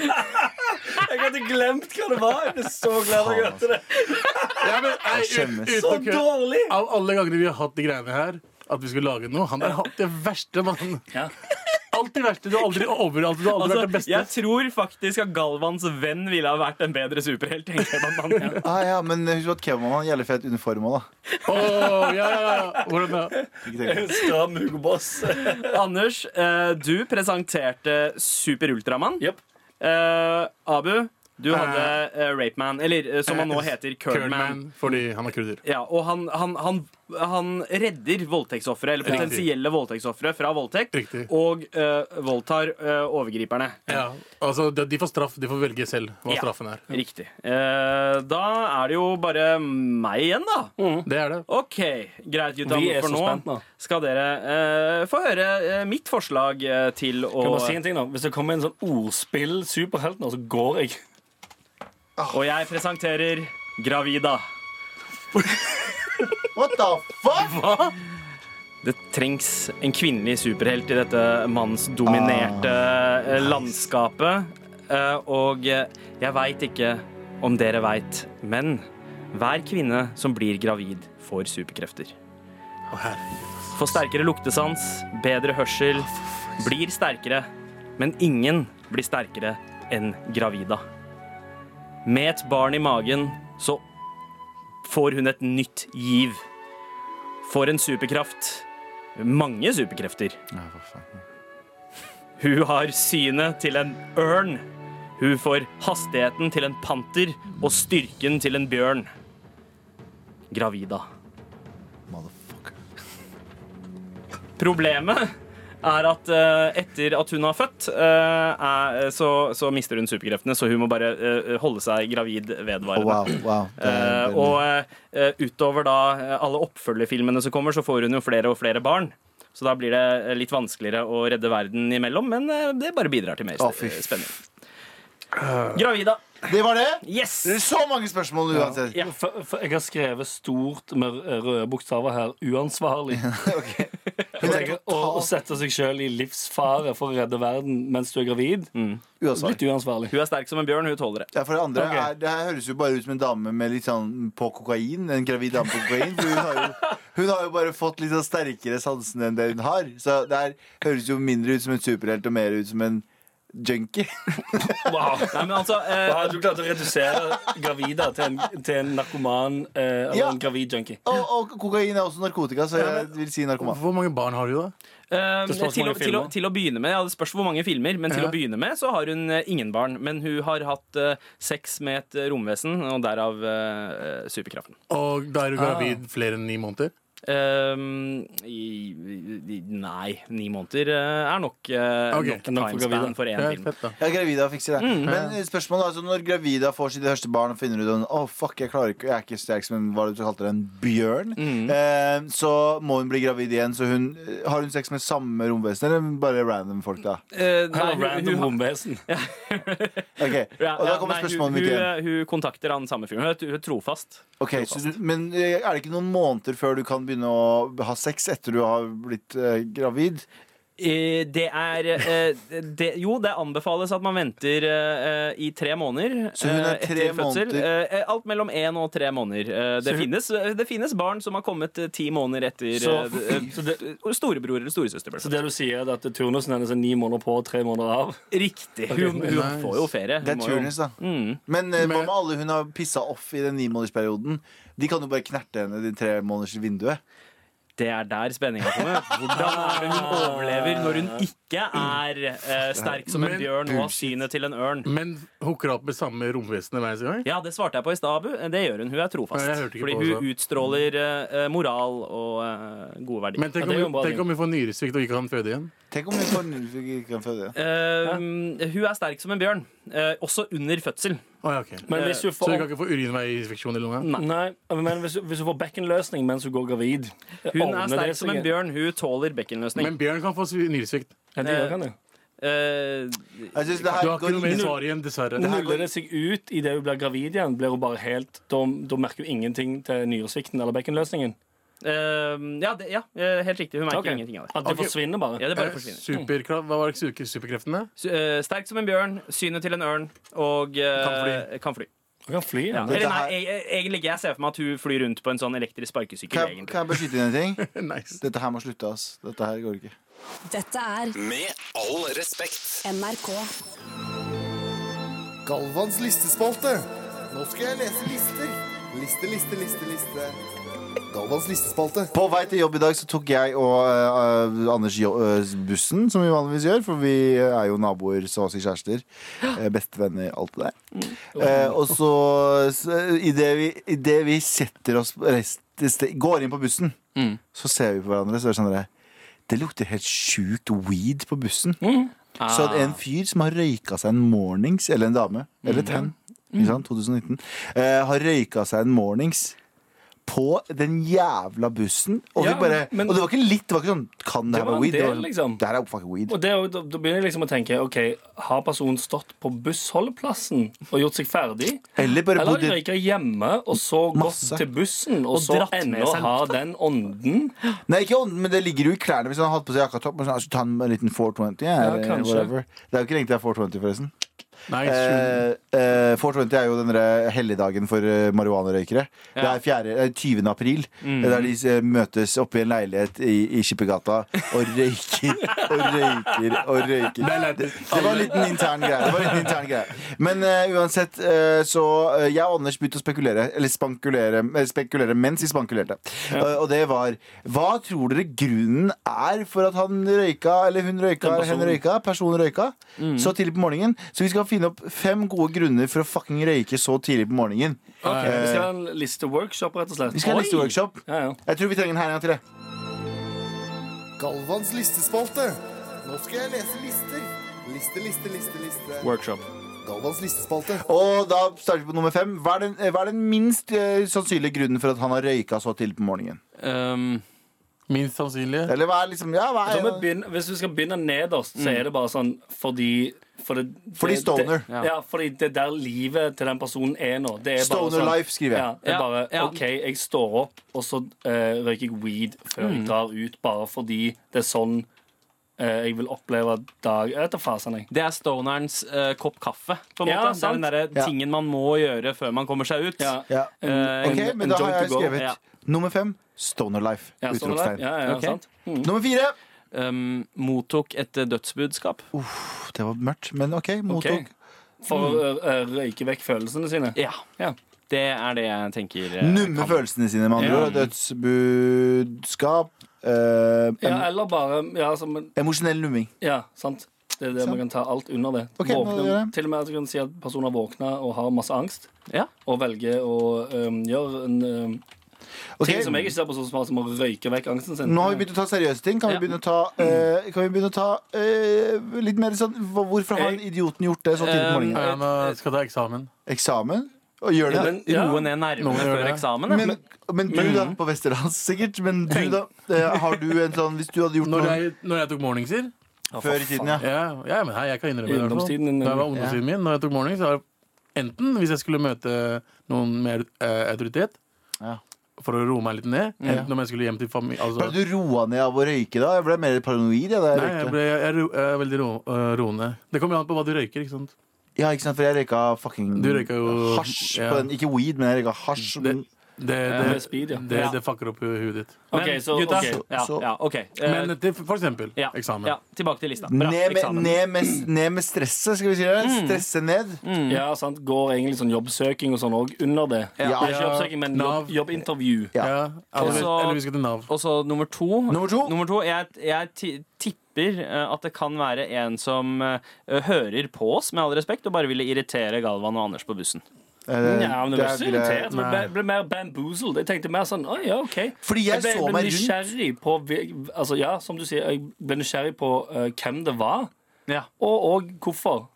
Speaker 5: Jeg hadde glemt hva det var. Jeg ble så glad jeg hørte det.
Speaker 6: Ja, men, nei, ut,
Speaker 2: skjemmes.
Speaker 5: Så
Speaker 6: uten kø-
Speaker 5: dårlig!
Speaker 6: Av alle gangene vi har hatt de greiene her, at vi skulle lage noe Han har hatt det verste, mannen.
Speaker 5: Ja.
Speaker 6: Alt det verste. Du har aldri overalt. Du har aldri vært den
Speaker 3: Altså,
Speaker 6: beste.
Speaker 3: jeg tror faktisk at Galvans venn ville ha vært en bedre superhelt enn Kebabmannen.
Speaker 2: Ah, ja, men husk at Kevin har en jævlig fet uniform òg, da.
Speaker 6: Åh, ja, ja, ja. Hvordan da?
Speaker 2: Ikke tenk på det.
Speaker 5: Stram Hugo Boss.
Speaker 3: Anders, eh, du presenterte Superultramann.
Speaker 5: Jepp.
Speaker 3: Eh, Abu, Du hadde eh, Rape Man, eller eh, som han nå
Speaker 6: Eh,
Speaker 3: heter, Kurdman.
Speaker 6: Kurdman, fordi han er kurder.
Speaker 3: Ja, og han, han, han, han redder voldtektsofre, eller
Speaker 6: Riktig.
Speaker 3: potensielle voldtektsofre, fra voldtekt.
Speaker 6: Riktig.
Speaker 3: Og eh, voldtar eh, overgriperne.
Speaker 6: Ja, altså de, de får straff. De får velge selv hva
Speaker 3: Ja.
Speaker 6: straffen er.
Speaker 3: Riktig. Eh, da er det jo bare meg igjen, da.
Speaker 6: Det er det.
Speaker 3: OK, greit, gutta.
Speaker 5: Mm. Vi er
Speaker 3: For
Speaker 5: så
Speaker 3: nå
Speaker 5: spent nå.
Speaker 3: skal dere eh, få høre eh, mitt forslag eh, til å
Speaker 5: Kan jeg bare si en ting nå? Hvis det kommer en sånn ordspill-superhelt nå, så går jeg.
Speaker 3: Og jeg presenterer Gravida.
Speaker 2: What the fuck?
Speaker 3: Det trengs en kvinnelig superhelt i dette mannsdominerte eh, landskapet. Eh, Og eh, jeg veit ikke om dere veit, men hver kvinne som blir gravid, får superkrefter. Får sterkere luktesans, bedre hørsel, blir sterkere. Men ingen blir sterkere enn gravida. Med et barn i magen så får hun et nytt giv. Får en superkraft. Mange superkrefter. Hun har synet til en ørn. Hun får hastigheten til en panter og styrken til en bjørn. Gravida. Problemet er at eh, etter at hun har født, eh, er, så, så mister hun superkreftene, så hun må bare eh, holde seg gravid vedvarende.
Speaker 2: Wow, wow. Det er
Speaker 3: Eh,
Speaker 2: veldig-
Speaker 3: og eh, utover da eh, alle oppfølgerfilmene som kommer, så får hun jo flere og flere barn. Så da blir det eh, litt vanskeligere å redde verden imellom, men eh, det bare bidrar til mer
Speaker 2: Å, fy.
Speaker 3: eh, spenning. Gravida.
Speaker 2: Det var det?
Speaker 3: Yes!
Speaker 2: Det er så mange spørsmål uansett.
Speaker 3: Ja.
Speaker 5: For, for jeg har skrevet stort med r- røde bokstaver her. Uansvarlig.
Speaker 2: Hun er
Speaker 5: Tenker, å, å sette seg sjøl i livsfare for å redde verden mens du er gravid,
Speaker 2: uansvarlig.
Speaker 5: litt uansvarlig.
Speaker 3: Hun er sterk som en bjørn, hun tåler det.
Speaker 2: Ja, for det andre
Speaker 5: Ok.
Speaker 2: er, det her høres jo bare ut som en dame med litt sånn på kokain. En gravid dame på kokain. For hun har jo, hun har jo bare fått litt sånn sterkere sansene enn det hun har. Så det her høres jo mindre ut som en superhelt og mer ut som en junkie.
Speaker 5: Wow.
Speaker 3: Nei, men altså, eh,
Speaker 5: Wow, du klarte å redusere gravida til en, til en narkoman eh, eller
Speaker 2: Ja.
Speaker 5: en gravid junkie.
Speaker 2: Og, og kokain er også narkotika, så jeg vil si narkoman.
Speaker 6: Hvor mange barn har du, da?
Speaker 3: eh,
Speaker 5: Det spørs hvor
Speaker 3: til, å,
Speaker 5: mange
Speaker 3: til, å,
Speaker 5: filmer.
Speaker 3: til å begynne med, ja, Det spørs hvor mange filmer, men til
Speaker 6: Ja.
Speaker 3: å begynne med så har hun eh, ingen barn. Men hun har hatt eh, sex med et eh, romvesen, og derav eh, superkraften.
Speaker 6: Og da er du
Speaker 5: Ah.
Speaker 6: gravid flere enn ni måneder?
Speaker 3: Ehm, i, i, nei, ni måneder eh, er nok uh,
Speaker 6: Ok,
Speaker 3: nok
Speaker 5: nok for gravide.
Speaker 3: timespan for én
Speaker 6: Det er
Speaker 3: film.
Speaker 6: fett, da.
Speaker 2: Ja, gravida fikser det. Men spørsmålet er altså når gravida får sitt første barn og finner ut at oh, fuck, jeg klarer ikke, jeg er ikke sterk som en, hva var det du kalte det, en bjørn, eh, så må hun bli gravid igjen. Så hun, eh, har hun sex med samme romvesen, eller bare random folk, da?
Speaker 3: Eh, nei,
Speaker 5: Eller
Speaker 3: hun- hun-
Speaker 5: random romvesen.
Speaker 2: Ok,
Speaker 3: ja,
Speaker 2: Og da
Speaker 3: ja,
Speaker 2: kommer
Speaker 3: nei,
Speaker 2: spørsmålet
Speaker 3: hun, eh,
Speaker 2: mitt igjen.
Speaker 3: hun, hun kontakter han samme fyren. Hun, er- hun er trofast.
Speaker 2: Ok, så du, Men eh, er det ikke noen måneder før du kan begynne å ha sex etter du har blitt eh, gravid?
Speaker 3: Eh, det er eh, det, Jo, det anbefales at man venter eh, eh, i tre måneder
Speaker 2: Så hun er
Speaker 3: eh,
Speaker 2: tre
Speaker 3: etter fødsel.
Speaker 2: måneder?
Speaker 3: Eh, alt mellom én og tre måneder. Eh, det,
Speaker 5: Så hun-
Speaker 3: finnes, det finnes barn som har kommet eh, ti måneder etter
Speaker 5: Så,
Speaker 3: eh, d-
Speaker 5: så, det,
Speaker 3: eh, storebror eller storesøster. ble
Speaker 5: så
Speaker 3: født.
Speaker 5: det du sier, er at turnusen hennes er ni måneder på og tre måneder av?
Speaker 3: Riktig. Hun, hun
Speaker 6: nice.
Speaker 3: får jo ferie.
Speaker 2: Det
Speaker 3: Hun
Speaker 2: er
Speaker 3: må jo- Mm.
Speaker 2: turnus, da. Men eh, hva med alle hun har pissa off i den nimånedersperioden? De kan jo bare knerte henne i det tre måneders vinduet.
Speaker 3: Det er der spenninga kommer. Hvordan er det hun overlever når hun ikke er eh, sterk som en
Speaker 6: Men
Speaker 3: bjørn og har synet til en ørn?
Speaker 6: Men hooker opp med samme romvesenet hver eneste gang?
Speaker 3: Ja, det svarte jeg på i stad, Abu. Det gjør hun. Hun er
Speaker 6: Nei, jeg
Speaker 3: trofast.
Speaker 6: hørte ikke
Speaker 3: Fordi
Speaker 6: på
Speaker 3: hun
Speaker 6: det.
Speaker 3: utstråler eh, moral og eh, gode verdier.
Speaker 6: Men tenk
Speaker 5: Ja, det er jo
Speaker 6: om,
Speaker 5: bra, det.
Speaker 6: tenk om vi får nyresvikt og ikke kan føde igjen.
Speaker 2: Tenk om hun får ikke kan føde.
Speaker 3: Eh, hun er sterk som en bjørn, eh, også under fødsel.
Speaker 6: Å, ja, ok.
Speaker 5: Men hvis Eh, du
Speaker 6: Så du
Speaker 5: får
Speaker 6: kan ikke få urinveiinfeksjon i lunga?
Speaker 5: Nei, men hvis, hvis hun får bekkenløsning mens hun går gravid
Speaker 3: Hun
Speaker 5: ordner
Speaker 3: er
Speaker 5: det
Speaker 3: sterk
Speaker 5: seg.
Speaker 3: som en bjørn. Hun tåler bekkenløsning.
Speaker 6: Men Bjørn kan få nyresvikt.
Speaker 5: Ja, det gjør han jo.
Speaker 3: Eh,
Speaker 2: Jeg synes det
Speaker 6: Du
Speaker 2: her
Speaker 6: har ikke
Speaker 2: går
Speaker 6: noe mer
Speaker 2: inn-
Speaker 6: svar igjen, dessverre.
Speaker 2: her
Speaker 5: Nuller
Speaker 2: går-
Speaker 5: det seg ut idet hun blir gravid igjen, blir hun bare helt Da, da merker hun ingenting til nyresvikten eller bekkenløsningen.
Speaker 3: eh, ja, det, ja, eh, helt riktig. Hun merker
Speaker 5: Ok.
Speaker 3: ingenting av det.
Speaker 5: At det
Speaker 6: Ok.
Speaker 5: forsvinner bare.
Speaker 3: Ja, det bare
Speaker 6: Eh,
Speaker 3: forsvinner.
Speaker 6: Superkraft, hva var det super- superkreftene?
Speaker 3: Su- eh, sterk som en bjørn, synet til en ørn og eh,
Speaker 6: Kan
Speaker 3: Kan fly.
Speaker 5: Hun kan fly.
Speaker 3: Ja.
Speaker 5: Ja.
Speaker 2: Dette
Speaker 3: Eller
Speaker 2: her-
Speaker 3: nei, jeg, jeg, egentlig ikke. Jeg ser for meg at hun flyr rundt på en sånn elektrisk sparkesykkel.
Speaker 2: Kan jeg,
Speaker 3: egentlig.
Speaker 2: kan jeg bare skyte inn en ting?
Speaker 6: Nice.
Speaker 2: Dette her må slutte, ass. Dette her går ikke.
Speaker 4: Dette er
Speaker 1: Med all respekt.
Speaker 4: NRK.
Speaker 7: Galvans listespalte. Nå skal jeg lese lister. Liste, liste, liste, liste.
Speaker 4: Galvans listespalte.
Speaker 2: På vei til jobb i dag så tok jeg og eh, Anders jo, eh, bussen, som vi vanligvis gjør, for vi er jo naboer, så å si kjærester. eh, bestevenner, alt det der. Eh, og så, så idet vi, i det vi setter oss rest, ste- Går inn på bussen,
Speaker 5: Mm.
Speaker 2: så ser vi på hverandre, så er det sånn der, Det lukter helt sjukt weed på bussen.
Speaker 5: Mm.
Speaker 2: Så at
Speaker 5: Ah.
Speaker 2: en fyr som har røyka seg en mornings, eller en dame, eller
Speaker 5: Mm.
Speaker 2: et hen, ikke sant, 2019, eh, har røyka seg en mornings på den jævla bussen. Og,
Speaker 5: Ja,
Speaker 2: vi bare,
Speaker 5: men-
Speaker 2: og det var ikke litt, det var ikke sånn Kan det,
Speaker 5: Det
Speaker 2: her være
Speaker 5: var en
Speaker 2: weed? Det
Speaker 5: del,
Speaker 2: var-
Speaker 5: liksom.
Speaker 2: Det her er jo fucking weed.
Speaker 5: Og det, er jo- da, da begynner jeg liksom å tenke ok, Har personen stått på bussholdeplassen og gjort seg ferdig?
Speaker 2: Eller bare
Speaker 5: Eller har
Speaker 2: bodd
Speaker 5: de
Speaker 2: i
Speaker 5: røyka hjemme og så
Speaker 2: Masse.
Speaker 5: gått til bussen, og,
Speaker 3: Og
Speaker 5: så
Speaker 3: dratt med
Speaker 5: ennå
Speaker 3: seg
Speaker 5: har den ånden?
Speaker 2: Nei, ikke ånden, men det ligger jo i klærne hvis han har hatt på seg jakketopp. Men sånn, ta en liten 420,
Speaker 5: Ja,
Speaker 2: eller
Speaker 5: kanskje.
Speaker 2: whatever. Det er jo ikke egentlig det er 420, forresten.
Speaker 6: Nei,
Speaker 2: Eh, eh, 420 er jo den derre helligdagen for eh, marihuanarøykere. Det er fjerde- eh, 20. april,
Speaker 5: Mm.
Speaker 2: der de eh, møtes oppe i en leilighet i, i Skippergata og røyker og røyker og røyker. Det, det var en liten intern greie. Det var en liten intern greie. Men eh, uansett, eh, så eh, jeg og Anders begynte å spekulere, eller spankulere, eh, spekulere mens vi spankulerte. Eh, og det var Hva tror dere grunnen er for at han røyka, eller hun røyka, eller hen røyka, personen røyka, så tidlig på morgenen? Så vi skal finne opp fem gode grunner for å fucking røyke så tidlig på morgenen.
Speaker 5: Ok, Eh, Vi skal ha en listeworkshop, rett og slett.
Speaker 2: Vi skal ha en
Speaker 5: Oi!
Speaker 2: listeworkshop.
Speaker 5: Ja, ja.
Speaker 2: Jeg tror vi trenger den her en gang til. jeg.
Speaker 4: Galvans listespalte. Nå skal jeg lese lister. Liste, liste, liste, liste.
Speaker 5: Workshop.
Speaker 4: Galvans listespalte.
Speaker 2: Og da starter vi på nummer fem. Hva er den, eh, hva er den minst eh, sannsynlige grunnen for at han har røyka så tidlig på morgenen?
Speaker 3: Um,
Speaker 6: Minst sannsynlig.
Speaker 2: Eller hva er liksom Ja, hva
Speaker 5: Så
Speaker 2: er
Speaker 5: vi begynner, hvis vi skal begynne nederst, så er det bare sånn fordi for det,
Speaker 2: Mm. Fordi
Speaker 5: det-
Speaker 2: stoner.
Speaker 5: Det, ja, fordi det er der livet til den personen er nå. Det er
Speaker 2: Stoner
Speaker 5: bare sånn,
Speaker 2: life, skriver jeg.
Speaker 5: Ja, det er
Speaker 3: Ja,
Speaker 5: bare
Speaker 3: ja.
Speaker 5: OK, jeg står opp, og så eh, røyker jeg weed før
Speaker 3: Mm.
Speaker 5: jeg drar ut, bare fordi det er sånn eh, jeg vil oppleve dag etter fasen, jeg.
Speaker 3: det er stonerens eh, kopp kaffe. På en
Speaker 5: Ja,
Speaker 3: måte. Det
Speaker 5: sant.
Speaker 3: er den derre
Speaker 2: Ja.
Speaker 3: tingen man må gjøre før man kommer seg ut.
Speaker 5: Ja.
Speaker 2: Ja.
Speaker 3: Eh,
Speaker 2: Ok,
Speaker 5: en-
Speaker 2: men
Speaker 5: en
Speaker 2: da
Speaker 5: joint
Speaker 2: har jeg
Speaker 5: to go.
Speaker 2: skrevet
Speaker 3: Ja.
Speaker 2: nummer fem Stoner Life.
Speaker 5: Ja, sånn er det.
Speaker 2: utropstegn.
Speaker 5: ja, ja,
Speaker 3: Ok.
Speaker 5: sant? Mm.
Speaker 2: Nummer fire
Speaker 3: Um, mottok et eh, dødsbudskap.
Speaker 2: Uff, Det var mørkt, men OK. Mottok.
Speaker 5: Ok. For å eh, røyke vekk følelsene sine.
Speaker 3: Ja.
Speaker 5: Ja.
Speaker 3: Det er det jeg tenker. eh,
Speaker 2: Numme
Speaker 3: kan-
Speaker 2: følelsene sine, med andre
Speaker 5: Ja.
Speaker 2: ord. Dødsbudskap. eh, em-
Speaker 5: Ja, eller bare Ja, som en
Speaker 2: Emosjonell numming.
Speaker 5: Ja, sant. Det er det man kan ta alt under det.
Speaker 2: Ok, nå
Speaker 5: Våkne-
Speaker 2: gjør jeg.
Speaker 5: til og med at du kan si at personer våkner og har masse angst,
Speaker 3: Ja.
Speaker 5: og velger å øhm, gjøre en øhm,
Speaker 2: Ok,
Speaker 5: ting som jeg ikke ser på så smart som å røyke vekk angsten sin.
Speaker 2: Nå har vi begynt å ta seriøse ting. Kan vi
Speaker 3: Ja.
Speaker 2: begynne å ta, eh, kan vi begynne å ta eh, litt mer sånn hva- Hvorfor har den idioten gjort det så tidlig på
Speaker 3: Eh,
Speaker 2: morgenen?
Speaker 6: Ja, nå skal ta eksamen.
Speaker 2: Eksamen? Og gjør det
Speaker 5: Ja,
Speaker 2: det?
Speaker 5: men, ja,
Speaker 3: Roe ned nervene
Speaker 6: Noen gjør
Speaker 3: før
Speaker 6: det.
Speaker 3: eksamen. ja.
Speaker 2: Men, men du,
Speaker 5: Mm.
Speaker 2: da? På Vesterdals, sikkert. Men du, da? eh, Har du en sånn Hvis du hadde gjort
Speaker 6: Når
Speaker 2: noe
Speaker 6: jeg, når jeg tok morgeningser
Speaker 2: før i tiden, ja.
Speaker 6: Ja, ja men hei, jeg kan innrømme det. i hvert fall.
Speaker 5: Ungdomstiden din,
Speaker 6: Da jeg var ungdomstiden min, når jeg tok morning, så var det enten hvis jeg skulle møte noen med eh, autoritet,
Speaker 2: Ja.
Speaker 6: for å roe meg litt ned, enten om jeg skulle hjem til familie altså,
Speaker 2: Ble du roa ned av å røyke da? Jeg ble mer paranoid. Jeg, da jeg
Speaker 6: Nei, jeg,
Speaker 2: røykte.
Speaker 6: ble, jeg, er ro- jeg er veldig ro, eh, roende. Det kommer jo an på hva du røyker, ikke sant?
Speaker 2: Ja, ikke sant, for jeg røyka fucking
Speaker 6: Du røyka jo-
Speaker 2: hasj
Speaker 6: ja.
Speaker 2: på den. Ikke weed, men jeg røyka hasj.
Speaker 6: Det, det, det,
Speaker 5: Eh, med speed, ja.
Speaker 6: det,
Speaker 3: Ja.
Speaker 6: det fucker opp huet ditt.
Speaker 5: Ok, så,
Speaker 3: gutta,
Speaker 5: ok.
Speaker 3: ja,
Speaker 2: så-
Speaker 3: ja, ok. Eh,
Speaker 6: Men til, for eksempel
Speaker 3: ja,
Speaker 6: eksamen.
Speaker 3: Ja, tilbake til lista. Bra,
Speaker 2: Ned med,
Speaker 3: eksamen.
Speaker 2: ned, med, ned med stresset, skal vi si det. Stresse ned.
Speaker 5: Ja, sant. Går egentlig sånn jobbsøking og sånn òg under det.
Speaker 2: Ja.
Speaker 5: Det er ikke jobbsøking, men
Speaker 6: Nav.
Speaker 5: jobb, jobbintervju.
Speaker 2: Ja.
Speaker 6: Ja. eller,
Speaker 3: Også-
Speaker 6: eller vi skal til Nav.
Speaker 3: Og så nummer to.
Speaker 2: Nummer to.
Speaker 3: jeg jeg ti- tipper eh, at det kan være en som eh, hører på oss, med all respekt, og bare ville irritere Galvan og Anders på bussen.
Speaker 2: Eh,
Speaker 5: Ja, men det
Speaker 2: det
Speaker 5: var ikke så
Speaker 2: ville-
Speaker 5: irritert. men Det ble, ble mer bamboozled. Jeg tenkte mer sånn Å ja, OK.
Speaker 2: Fordi jeg
Speaker 5: ble,
Speaker 2: så
Speaker 5: ble
Speaker 2: meg rundt.
Speaker 5: nysgjerrig på hvil- Altså, ja, som du sier, jeg ble nysgjerrig på eh, hvem det var,
Speaker 3: Ja.
Speaker 5: og, og hvorfor.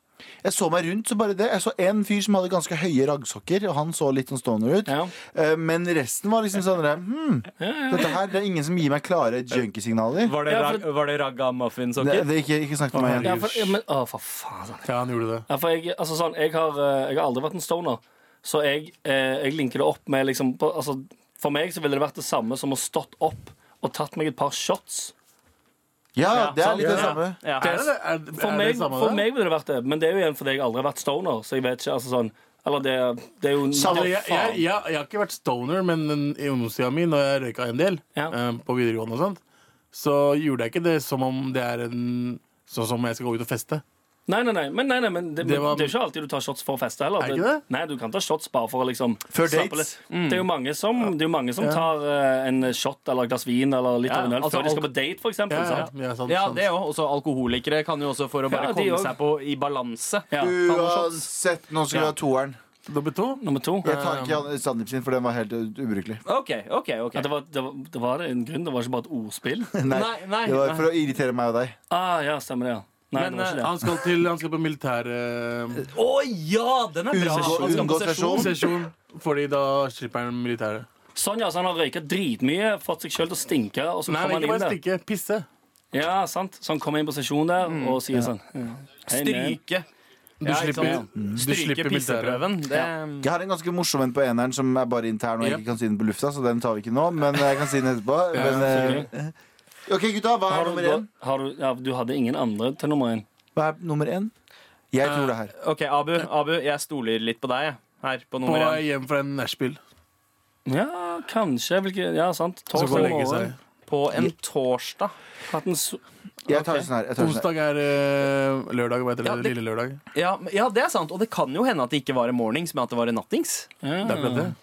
Speaker 2: Jeg så meg rundt, så bare det. Jeg så en fyr som hadde ganske høye raggsokker, og han så litt sånn stoner ut.
Speaker 5: Ja.
Speaker 2: Eh, Men resten var liksom sånn der, hmm, Dette her, det er ingen som gir meg klare junkie-signaler.
Speaker 3: Var det,
Speaker 5: Ja, for-
Speaker 3: rag, var det
Speaker 2: Det,
Speaker 3: raggamuffinsokker?
Speaker 2: det, ikke, ikke snakk med meg igjen.
Speaker 5: Ja, for, ja, men, å, for faen. sånn.
Speaker 6: Ja, han gjorde det.
Speaker 5: Ja, for jeg, altså, sånn, jeg, har, eh, jeg har aldri vært en stoner, så jeg, eh, jeg linker det opp med liksom, på, altså, For meg så ville det vært det samme som å stått opp og tatt meg et par shots.
Speaker 2: Ja, det er litt
Speaker 3: Ja,
Speaker 2: det samme.
Speaker 3: Ja.
Speaker 6: Er det, er, er
Speaker 5: For,
Speaker 6: det
Speaker 5: meg,
Speaker 6: samme
Speaker 5: for
Speaker 6: det?
Speaker 5: meg ville det vært det, men det er jo igjen fordi jeg aldri har vært stoner. Så jeg vet ikke, altså sånn Eller det, det er jo
Speaker 6: Altså,
Speaker 5: det,
Speaker 6: jeg, jeg, jeg, jeg har ikke vært stoner, men den- i ungdomstida mi, når jeg røyka en del
Speaker 5: Ja.
Speaker 6: eh, på videregående og sånt, så gjorde jeg ikke det som om det er en Sånn som jeg skal gå ut og feste.
Speaker 5: Nei, nei, nei, men, nei, nei, men det,
Speaker 6: Det var-
Speaker 5: det er ikke alltid du tar shots for å feste heller.
Speaker 6: Er det ikke det? Mm.
Speaker 5: Nei, du kan ta shots bare for å liksom
Speaker 2: Før
Speaker 5: slappe
Speaker 2: dates?
Speaker 5: litt. Det er jo mange som, det er jo mange som tar eh, en shot eller et glass vin eller litt
Speaker 3: Ja,
Speaker 5: av en øl
Speaker 3: altså
Speaker 5: før de skal
Speaker 3: alt-
Speaker 5: på date, for eksempel.
Speaker 6: Ja, ja,
Speaker 5: sant?
Speaker 6: ja, sånn- sant,
Speaker 3: Ja,
Speaker 6: sant.
Speaker 3: det òg. Også alkoholikere kan jo også for å bare
Speaker 5: Ja, de
Speaker 3: komme
Speaker 5: også.
Speaker 3: seg på i balanse.
Speaker 5: Ja.
Speaker 2: Uansett, nå skal vi ha toeren.
Speaker 6: Nummer to.
Speaker 5: Nummer to.
Speaker 2: Jeg tar ikke han- Sandeep sin, for den var helt u- ubrukelig.
Speaker 3: OK, OK. ok
Speaker 5: Ja, det, var, det, var, det var en grunn, det var ikke bare et ordspill.
Speaker 2: Nei,
Speaker 3: Nei, nei,
Speaker 2: Det var
Speaker 3: nei.
Speaker 2: for å irritere meg og deg.
Speaker 5: Ah, ja, stemmer det, ja. Nei,
Speaker 3: Men,
Speaker 5: det var ikke det.
Speaker 6: Han skal, til, han skal på militær eh,
Speaker 3: Å ja, den er bra!
Speaker 2: Unngå-
Speaker 3: Han skal på
Speaker 2: unngå sesjon.
Speaker 6: sesjon, fordi da slipper han militæret.
Speaker 5: Sånn, ja, så han har røyka dritmye, fått seg sjøl til å stinke, og så
Speaker 6: Nei,
Speaker 5: kommer
Speaker 6: ikke
Speaker 5: han inn
Speaker 6: bare
Speaker 5: der.
Speaker 6: stikke. Pisse.
Speaker 5: Ja, sant? Så han kommer inn på sesjon der
Speaker 6: Mm.
Speaker 5: og sier sånn ja. Hey, man.
Speaker 3: Stryke.
Speaker 6: Du
Speaker 3: Ja, ikke
Speaker 6: slipper, Mm.
Speaker 3: sant?
Speaker 6: du
Speaker 3: Stryke
Speaker 6: slipper militæret.
Speaker 3: pisseprøven. Det,
Speaker 2: Jeg har en ganske morsom en på eneren som er bare intern og jeg
Speaker 6: Ja.
Speaker 2: ikke kan si den på lufta, så den tar vi ikke nå, men uh, jeg kan si den etterpå. Men, eh, ok, gutta, hva
Speaker 5: Har
Speaker 2: er
Speaker 5: du,
Speaker 2: nummer én?
Speaker 5: har du, ja, du hadde ingen andre til nummer én?
Speaker 2: Hva er nummer én? Jeg tror det her.
Speaker 3: OK, Abu, Abu, jeg stoler litt på deg jeg, her på
Speaker 6: På
Speaker 3: nummer
Speaker 6: vei
Speaker 3: én.
Speaker 6: hjem fra en nachspiel.
Speaker 5: Ja, kanskje. Hvilke, ja, sant.
Speaker 6: Så
Speaker 5: Torsdag
Speaker 6: går det
Speaker 5: morgen.
Speaker 6: legge seg.
Speaker 3: På en torsdag.
Speaker 5: Hatt en so
Speaker 2: Jeg tar sånn her. Jeg tar sånn her.
Speaker 6: Onsdag er eh, lørdag, hva heter det?
Speaker 3: Ja, det- Mm.
Speaker 6: Lille lørdag.
Speaker 3: Ja, men- ja, det er sant. Og det kan jo hende at det ikke var en mornings, men at det var en nattings.
Speaker 5: ja.
Speaker 6: Det er akkurat det.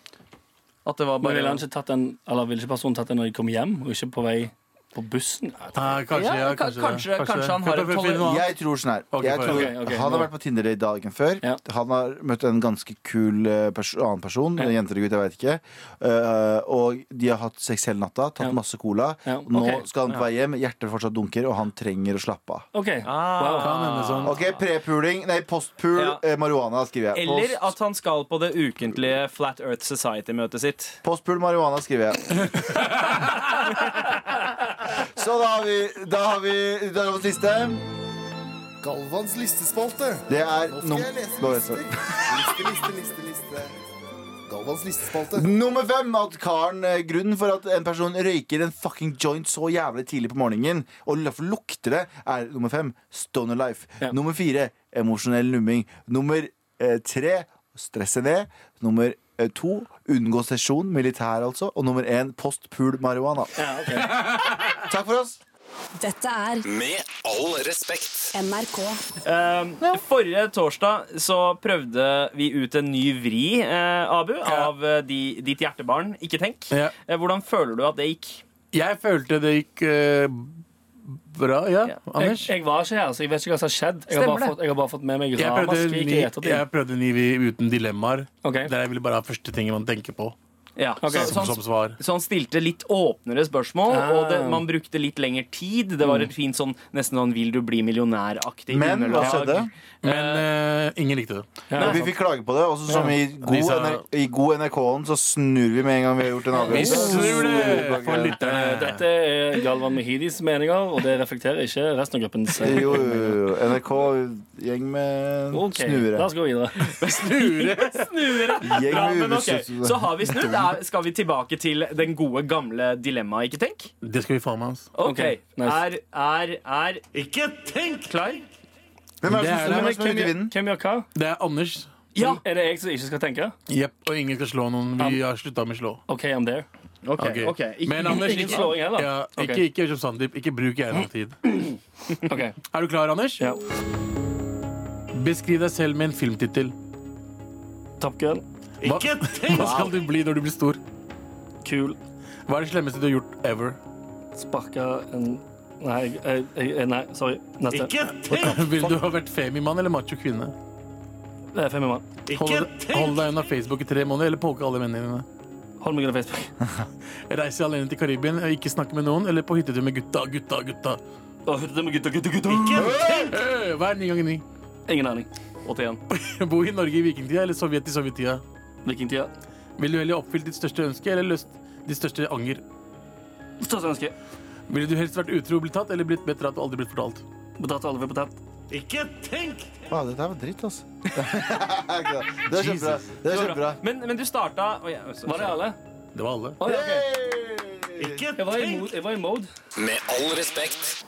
Speaker 3: At det var
Speaker 5: Men
Speaker 3: bare
Speaker 5: ville han ikke tatt den, eller ville ikke personen tatt den når de kom hjem, og ikke på vei på bussen? Ja, det-
Speaker 6: Ah, kanskje, ja,
Speaker 3: Ja, ka-
Speaker 6: kanskje,
Speaker 3: kanskje- kanskje han har
Speaker 6: Kan
Speaker 3: en
Speaker 6: vi finne
Speaker 3: tolle-
Speaker 6: noe annet?
Speaker 2: Jeg tror sånn her.
Speaker 6: Ok,
Speaker 2: jeg
Speaker 6: få
Speaker 2: tror,
Speaker 5: høre. Ok, ok,
Speaker 2: han har
Speaker 5: nå.
Speaker 2: vært på Tinder i dagen før.
Speaker 5: Ja.
Speaker 2: Han har møtt en ganske kul eh, pers annen person, en jente eller gutt, jeg vet ikke. Eh, og de har hatt sex hele natta, tatt
Speaker 5: Ja.
Speaker 2: masse cola.
Speaker 5: Ja,
Speaker 2: Nå
Speaker 5: ok.
Speaker 2: skal han på vei hjem, hjertet fortsatt dunker, og han trenger å slappe av.
Speaker 5: OK. Wow.
Speaker 6: Kan
Speaker 3: Ah.
Speaker 6: hende
Speaker 5: Ah.
Speaker 6: sånn.
Speaker 2: Ok, prepuling, nei, postpul,
Speaker 3: Ja.
Speaker 2: eh, marihuana skriver jeg.
Speaker 3: Eller
Speaker 2: Post-
Speaker 3: at han skal på det ukentlige Flat Earth Society-møtet sitt.
Speaker 2: Postpul marihuana skriver jeg. Så da har vi Da har vi, da har vi siste.
Speaker 4: Galvans listespalte.
Speaker 2: Det er
Speaker 4: Nå skal
Speaker 2: num
Speaker 4: jeg lese
Speaker 2: Nå
Speaker 4: lister.
Speaker 2: leser jeg.
Speaker 4: Liste, liste, liste, liste. Galvans listespalte.
Speaker 2: Nummer fem. At karen, eh, grunnen for at en person røyker en fucking joint så jævlig tidlig på morgenen, og derfor lukter det, er nummer fem stoner life.
Speaker 5: Ja.
Speaker 2: Nummer fire emosjonell numming. Nummer eh, tre stresse ned. Nummer eh, to unngå sesjon, militær altså. Og nummer én postpul marihuana.
Speaker 5: Ja, ok.
Speaker 2: Takk for oss.
Speaker 7: Dette er
Speaker 1: Med all respekt.
Speaker 7: NRK.
Speaker 3: Um, Forrige torsdag så prøvde vi ut en ny vri, eh, Abu, av eh, de, ditt hjertebarn. Ikke tenk.
Speaker 6: Ja.
Speaker 3: Eh, hvordan føler du at det gikk?
Speaker 6: Jeg følte det gikk eh, bra, ja.
Speaker 3: Ja.
Speaker 5: Jeg,
Speaker 6: Anders?
Speaker 5: jeg var ikke her, så jeg vet ikke hva som har skjedd. Jeg har
Speaker 3: Stemmer
Speaker 5: bare
Speaker 3: det.
Speaker 5: fått, jeg har bare fått med meg
Speaker 6: Jeg prøvde,
Speaker 5: ramaskrik i
Speaker 6: ni,
Speaker 5: ettertid.
Speaker 6: jeg prøvde Nivi uten dilemmaer.
Speaker 5: Ok.
Speaker 6: Der jeg ville bare ha første ting man tenker på.
Speaker 3: Ja, så, så,
Speaker 6: Som, som
Speaker 3: han,
Speaker 6: svar.
Speaker 3: så han stilte litt åpnere spørsmål,
Speaker 5: Ah.
Speaker 3: og det, man brukte litt lengre tid. Det var et fint sånn nesten sånn 'vil du bli millionær'-aktig
Speaker 2: Men hva
Speaker 3: underlag.
Speaker 2: skjedde?
Speaker 6: Men eh, ingen likte det.
Speaker 5: Ja,
Speaker 2: Og vi
Speaker 5: sant.
Speaker 2: fikk klage på det, og så som i god,
Speaker 6: Lisa-
Speaker 2: NR i god NRK-en så snur vi med en gang vi har gjort en
Speaker 6: Vi snur det for
Speaker 2: avgjørelse.
Speaker 5: Eh,
Speaker 6: lytterne.
Speaker 5: Dette er Galvan Mehidis meninger, og det reflekterer ikke resten av gruppens. eh,
Speaker 2: Jo, jo, jo. NRK gjeng med
Speaker 5: Ok, La
Speaker 2: snuere.
Speaker 5: oss gå videre.
Speaker 2: Gjeng
Speaker 3: Ja,
Speaker 2: med
Speaker 3: men ok, Så
Speaker 2: ubeskyttede.
Speaker 3: har vi snudd. Er, skal vi tilbake til den gode, gamle dilemmaet, ikke tenk?
Speaker 6: Det skal vi få med oss.
Speaker 3: Ok,
Speaker 5: Ok, nice.
Speaker 3: Er, er, er Ikke tenk! Klar?
Speaker 2: Hvem er
Speaker 6: Det
Speaker 2: det
Speaker 6: er
Speaker 2: som- hvem er det som er ute i vinden?
Speaker 5: Hvem gjør hva?
Speaker 6: Det er Anders.
Speaker 3: Ja.
Speaker 5: Er det jeg som ikke skal tenke?
Speaker 6: Jepp. Og ingen skal slå noen. Vi har slutta med slå.
Speaker 5: OK, I'm there.
Speaker 3: Ok,
Speaker 6: Ok.
Speaker 3: ok. Ikke-
Speaker 6: Men Anders,
Speaker 5: Ingen
Speaker 6: ikke,
Speaker 5: slåing heller?
Speaker 6: ja,
Speaker 5: Ok.
Speaker 6: ikke, ikke gjør som Sandeep. Ikke bruk hjernen tid.
Speaker 5: Ok.
Speaker 6: Er du klar, Anders?
Speaker 5: Ja.
Speaker 6: Beskriv deg selv med en filmtittel.
Speaker 5: Top Gun.
Speaker 6: Hva, hva skal du bli når du blir stor?
Speaker 5: Kul.
Speaker 6: Hva er det slemmeste du har gjort ever?
Speaker 5: Sparka en Nei, jeg, jeg, jeg- nei sorry. Neste.
Speaker 6: Vil du ha vært femimann eller macho kvinne?
Speaker 5: Det er Femmermann.
Speaker 6: Hold, hold deg unna Facebook i tre måneder eller poke alle vennene dine.
Speaker 5: Hold meg under Facebook.
Speaker 6: Reise alene til Karibien og ikke snakke med noen, eller på hyttetur med gutta, gutta, gutta.
Speaker 5: Å, hørte du det med gutta, gutta, gutta?
Speaker 6: Øh, Hva er ni ganger ni?
Speaker 5: Ingen aning. 81.
Speaker 6: Bo i Norge i vikingtida eller Sovjet i sovjettida?
Speaker 5: Vikingtida.
Speaker 6: Vil du heller oppfylt ditt største ønske eller løst ditt største anger?
Speaker 5: Største ønske.
Speaker 6: Ville du helst vært utro og blitt tatt, eller blitt bedratt og aldri blitt fortalt?
Speaker 5: Betatt og aldri blitt betalt.
Speaker 2: Wow, dette her var dritt, altså. Det er kjempebra. Det er kjempebra.
Speaker 3: Men, men du starta Oi, ja, så-
Speaker 5: Var det alle?
Speaker 6: Det var alle.
Speaker 5: Å, ja, ok. Jeg var, i mode, jeg var i mode.
Speaker 1: Med all respekt.